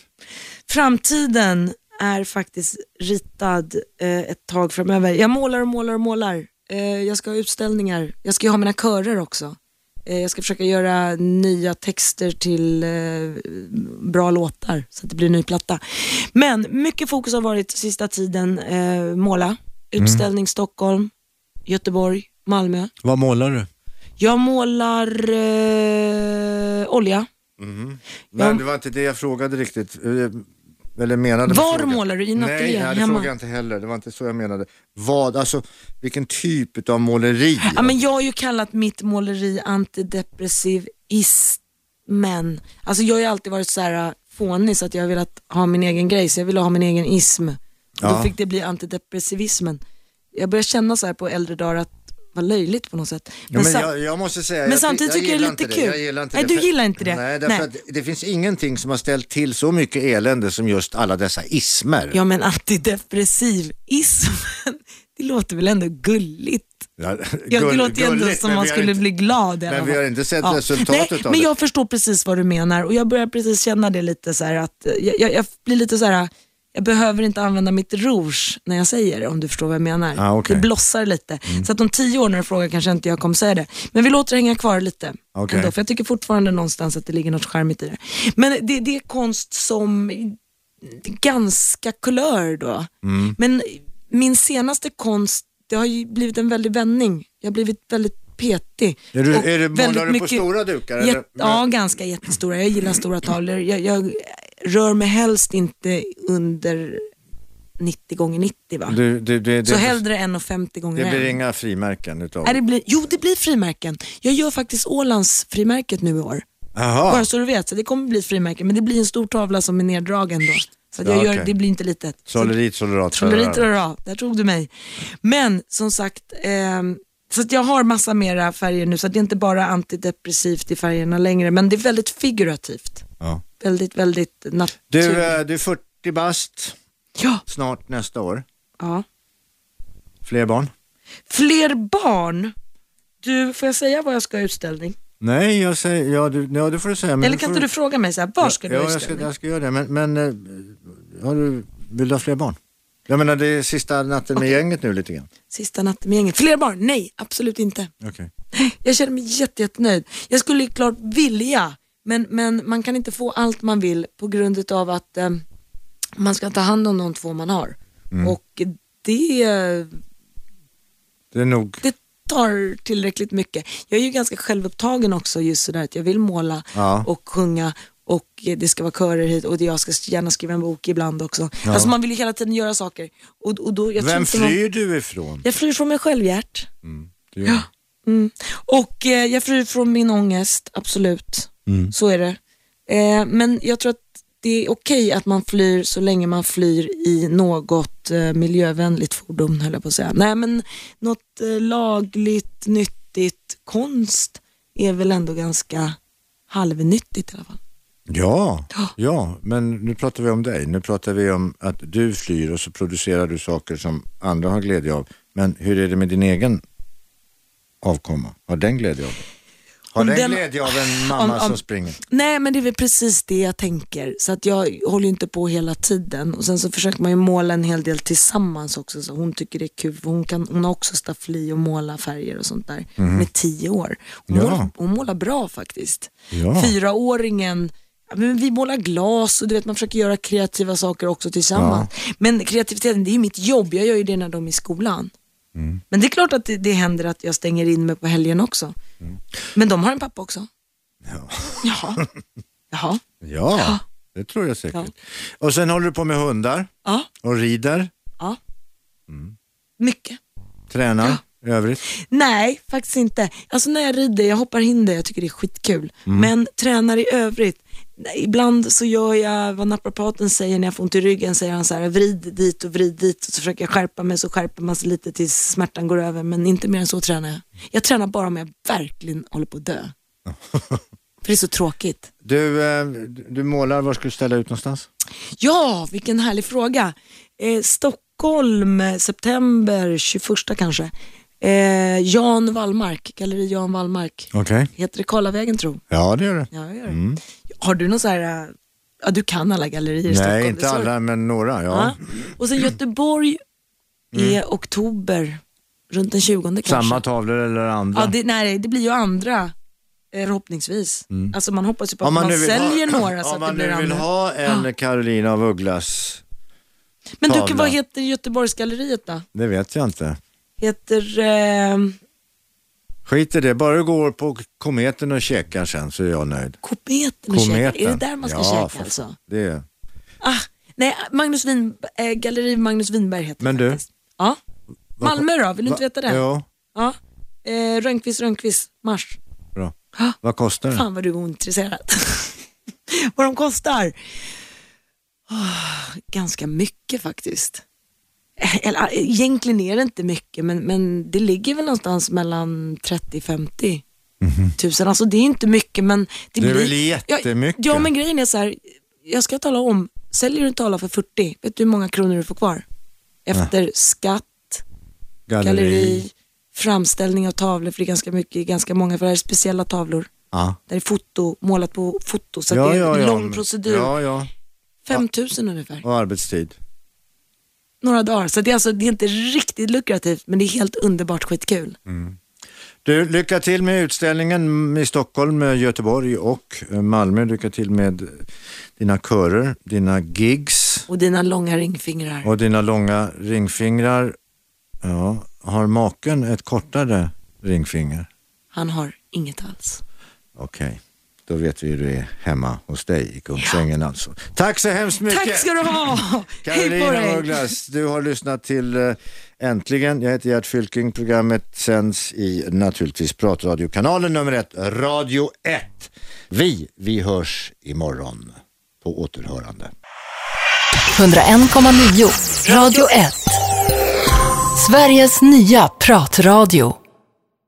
Speaker 3: Framtiden är faktiskt ritad eh, ett tag framöver. Jag målar och målar och målar. Eh, jag ska ha utställningar. Jag ska ju ha mina körer också. Eh, jag ska försöka göra nya texter till eh, bra låtar så att det blir en ny platta. Men mycket fokus har varit sista tiden eh, måla. Utställning Stockholm, Göteborg, Malmö.
Speaker 2: Vad målar du?
Speaker 3: Jag målar eh, olja.
Speaker 2: Men
Speaker 3: Jag-
Speaker 2: det var inte det jag frågade riktigt. eh, Eller menade med
Speaker 3: Var
Speaker 2: frågan.
Speaker 3: målar du? I
Speaker 2: Nej,
Speaker 3: ateljén?
Speaker 2: nej, det
Speaker 3: Hemma?
Speaker 2: frågade jag inte heller. Det var inte så jag menade. Vad, alltså vilken typ av måleri?
Speaker 3: Ja, men jag har ju kallat mitt måleri antidepressiv ismen. Alltså jag har ju alltid varit så här äh, fånig så att jag har velat ha min egen grej, så jag ville ha min egen ism. Och Då
Speaker 2: Ja.
Speaker 3: fick det bli antidepressivismen. Jag börjar känna så här på äldre dagar att det var löjligt på något sätt.
Speaker 2: Ja, men
Speaker 3: sam-
Speaker 2: jag, jag måste säga,
Speaker 3: men
Speaker 2: jag,
Speaker 3: samtidigt tycker jag det är
Speaker 2: gillar
Speaker 3: lite
Speaker 2: inte
Speaker 3: kul.
Speaker 2: Jag gillar inte
Speaker 3: Nej,
Speaker 2: det,
Speaker 3: du
Speaker 2: för-
Speaker 3: gillar inte det.
Speaker 2: Nej, därför
Speaker 3: Nej.
Speaker 2: Att det finns ingenting som har ställt till så mycket elände som just alla dessa ismer.
Speaker 3: ja men antidepressiv ismen, det låter väl ändå gulligt?
Speaker 2: Ja,
Speaker 3: Ja, det
Speaker 2: gull-
Speaker 3: låter ju ändå
Speaker 2: gulligt,
Speaker 3: som
Speaker 2: men
Speaker 3: man
Speaker 2: vi har
Speaker 3: skulle
Speaker 2: inte-
Speaker 3: bli glad i alla
Speaker 2: Men vi
Speaker 3: fall.
Speaker 2: har inte sett
Speaker 3: Ja.
Speaker 2: resultatet
Speaker 3: Nej,
Speaker 2: av
Speaker 3: men
Speaker 2: det.
Speaker 3: jag förstår precis vad du menar och jag börjar precis känna det lite så här att eh, jag, jag, jag blir lite så här jag behöver inte använda mitt rouge när jag säger det, om du förstår vad jag menar.
Speaker 2: Ah, okej. Mm.
Speaker 3: Det blossar lite. Så att om tio år när du frågar kanske inte jag kommer säga det. Men vi låter det hänga kvar lite.
Speaker 2: Okej.
Speaker 3: Ändå, för jag tycker fortfarande någonstans att det ligger något charmigt i det. Men det, det är konst som ganska kulör då. Men min senaste konst, det har ju blivit en väldig vändning. Jag har blivit väldigt petig.
Speaker 2: Är du-
Speaker 3: Och
Speaker 2: är det- målar
Speaker 3: väldigt
Speaker 2: du på stora dukar,
Speaker 3: Jätt,
Speaker 2: eller?
Speaker 3: Ja, ganska jättestora. Jag gillar stora tavlor. Jag, jag rör mig helst inte under 90 gånger 90 va?
Speaker 2: Du, du, det,
Speaker 3: så
Speaker 2: det-
Speaker 3: hellre 1,50 gånger
Speaker 2: det blir
Speaker 3: en.
Speaker 2: inga frimärken utav
Speaker 3: Nej, det blir, jo, det blir frimärken. Jag gör faktiskt Ålands frimärket nu i år. Bara
Speaker 2: Jaha,
Speaker 3: så du vet, så det kommer bli frimärken. Men det blir en stor tavla som är neddragen då. Så att jag
Speaker 2: Ja,
Speaker 3: gör,
Speaker 2: okej.
Speaker 3: det blir inte litet. Så-
Speaker 2: trollerit, trollerat.
Speaker 3: Trollerit och rara, där tog du mig. Men som sagt, ehm, så att jag har massa mera färger nu, så att det är inte bara antidepressivt i färgerna längre, men det är väldigt figurativt.
Speaker 2: Ja.
Speaker 3: Väldigt, väldigt naturligt.
Speaker 2: Du, eh, du är 40 bast
Speaker 3: ja,
Speaker 2: snart nästa år.
Speaker 3: ja.
Speaker 2: Fler barn?
Speaker 3: Fler barn. Du, får jag säga vad jag ska ha utställning?
Speaker 2: Nej, jag säger, ja, du, ja, det får du säga. men
Speaker 3: Eller kan
Speaker 2: får
Speaker 3: inte du fråga mig så här, var ska du
Speaker 2: ja, jag
Speaker 3: ha
Speaker 2: ska,
Speaker 3: utställning?
Speaker 2: jag ska göra det, men, men eh, har du, vill du ha fler barn? Jag menar det är sista natten med gänget nu lite grann.
Speaker 3: Sista natten med gänget. Fler barn? Nej, absolut inte.
Speaker 2: Okay.
Speaker 3: Jag känner mig jätte, jättenöjd. Jag skulle ju klart vilja, men, men man kan inte få allt man vill på grund av att eh, man ska ta hand om de två man har.
Speaker 2: Mm.
Speaker 3: Och det,
Speaker 2: Det är nog,
Speaker 3: det tar tillräckligt mycket. Jag är ju ganska självupptagen också just sådär att jag vill måla
Speaker 2: Ja.
Speaker 3: och sjunga och eh, det ska vara körer hit och jag ska gärna skriva en bok ibland också. Alltså man vill ju hela tiden göra saker. Och, och då, jag tror
Speaker 2: vem
Speaker 3: inte man-
Speaker 2: flyr du ifrån?
Speaker 3: Jag flyr från mig själv, Gert.
Speaker 2: Det är-
Speaker 3: Mm. Och eh, jag flyr från min ångest, absolut. Så är det. Eh, men jag tror att det är okej att man flyr så länge man flyr i något eh, miljövänligt fordon, höll jag på att säga. Nej, men något eh, lagligt, nyttigt. Konst är väl ändå ganska halvnyttigt i alla fall.
Speaker 2: Ja,
Speaker 3: Ja.
Speaker 2: ja, men nu pratar vi om dig. Nu pratar vi om att du flyr och så producerar du saker som andra har glädje av. Men hur är det med din egen avkomma? Har den glädje av det? Har
Speaker 3: Om
Speaker 2: den,
Speaker 3: den-
Speaker 2: glädje av en mamma
Speaker 3: om- om-
Speaker 2: som springer?
Speaker 3: Nej, men det är väl precis det jag tänker. Så att jag håller ju inte på hela tiden. Och sen så försöker man ju måla en hel del tillsammans också. Så hon tycker det är kul, för hon, kan, hon har också staffli och måla färger och sånt där. Med tio år. Hon,
Speaker 2: Mhm. Ja.
Speaker 3: målar, hon målar bra faktiskt.
Speaker 2: Ja.
Speaker 3: Fyraåringen, ja, men vi målar glas och du vet, man försöker göra kreativa saker också tillsammans. Men kreativiteten, det är ju mitt jobb. Jag gör ju det när de är i skolan. Men det är klart att det, det händer att jag stänger in mig på helgen också. Men de har en pappa också.
Speaker 2: Ja.
Speaker 3: Jaha. Jaha.
Speaker 2: ja, det tror jag säkert. Och sen håller du på med hundar
Speaker 3: Ja.
Speaker 2: och rider,
Speaker 3: ja. Mycket.
Speaker 2: tränar, i övrigt.
Speaker 3: Nej, faktiskt inte. Alltså när jag rider, jag hoppar hinder, jag tycker det är skitkul. Men tränar i övrigt, nej, ibland så gör jag vad naprapaten säger när jag får ont i ryggen, säger han så här vrid dit och vrid dit och så försöker jag skärpa mig, så skärper man sig lite tills smärtan går över, men inte mer än så tränar jag. Jag tränar bara om jag verkligen håller på att dö. För det är så tråkigt.
Speaker 2: Du, eh, du målar, var ska du ställa ut någonstans?
Speaker 3: Ja, vilken härlig fråga. Eh, Stockholm, eh, september 21 kanske. Eh, Jan Wallmark, galleri Jan Wallmark.
Speaker 2: Okej.
Speaker 3: Heter det Karlavägen tro?
Speaker 2: Ja, det gör du.
Speaker 3: Ja, jag gör det. Har du någon så här, eh, ja du kan alla gallerier i Stockholm.
Speaker 2: Mm. Nej,
Speaker 3: det
Speaker 2: inte
Speaker 3: är så-
Speaker 2: alla, men några. Ja.
Speaker 3: Ja. Och sen Göteborg i oktober, runt den 20 kanske.
Speaker 2: Mm. Samma tavlor eller andra.
Speaker 3: Ja, det, nej, det blir ju andra eh, förhoppningsvis. Alltså man hoppas ju på att
Speaker 2: Mm. Om
Speaker 3: man,
Speaker 2: nu vill
Speaker 3: säljer
Speaker 2: ha,
Speaker 3: några så
Speaker 2: Om
Speaker 3: att det
Speaker 2: man
Speaker 3: blir
Speaker 2: nu
Speaker 3: andra. Ah.
Speaker 2: vill ha en Carolina av Ugglas,
Speaker 3: Men du,
Speaker 2: tavla.
Speaker 3: vad heter Göteborgsgalleriet då?
Speaker 2: det vet jag inte.
Speaker 3: heter... Eh,
Speaker 2: Skit i det, bara du går på kometen och käkar sen så är jag nöjd.
Speaker 3: kometen och käka.
Speaker 2: Kometen.
Speaker 3: Är det där man ska
Speaker 2: ja,
Speaker 3: käka
Speaker 2: för-
Speaker 3: alltså?
Speaker 2: Det är...
Speaker 3: Ah, nej, Magnus Win, eh, Galleri Magnus Winberg heter
Speaker 2: Men
Speaker 3: det
Speaker 2: du?
Speaker 3: faktiskt. Ja. Malmö då, vill du inte veta det?
Speaker 2: Ja,
Speaker 3: ja. Eh, Rönnqvist, Rönnqvist, Mars.
Speaker 2: bra.
Speaker 3: Ah,
Speaker 2: Vad kostar det?
Speaker 3: fan vad du är ointresserad. vad de kostar? Ah, ganska mycket faktiskt. Eh, Eller, eh, egentligen är det inte mycket, men, men det ligger väl någonstans mellan 30-50 tusen. Alltså det är inte mycket, men det,
Speaker 2: Mhm. Det är
Speaker 3: blir...
Speaker 2: väl jättemycket?
Speaker 3: Ja, ja, men grejen är så här, jag ska tala om, säljer du en tavla för 40, vet du hur många kronor du får kvar? Efter skatt, galleri, framställning av tavlor, för det är ganska mycket, ganska många, för det här är speciella tavlor.
Speaker 2: Ja.
Speaker 3: Där det är foto, målat på foto, så att
Speaker 2: Ja,
Speaker 3: det är
Speaker 2: ja,
Speaker 3: en
Speaker 2: ja.
Speaker 3: lång procedur.
Speaker 2: Ja, ja.
Speaker 3: 5 000 ungefär,
Speaker 2: Och arbetstid.
Speaker 3: några dagar. Så det är, alltså, det är inte riktigt lukrativt, men det är helt underbart skitkul.
Speaker 2: Du, lycka till med utställningen i Stockholm, eh, Göteborg och eh, Malmö. Lycka till med eh, dina körer, dina gigs
Speaker 3: Och dina långa ringfingrar.
Speaker 2: och dina långa ringfingrar. Ja, har maken ett kortare ringfinger?
Speaker 3: Han har inget alls.
Speaker 2: Okej. Då vet vi hur det är hemma hos dig i Kungsängen alltså. Tack så hemskt mycket!
Speaker 3: Tack ska du ha! Hej på
Speaker 2: Carolina
Speaker 3: dig!
Speaker 2: Ugglas, du har lyssnat till eh, Äntligen. Jag heter Gert Fylking. Programmet sänds i naturligtvis pratradiokanalen nummer ett, Radio 1. Vi, vi hörs imorgon. På återhörande.
Speaker 1: 101,9 Radio 1. Sveriges nya pratradio.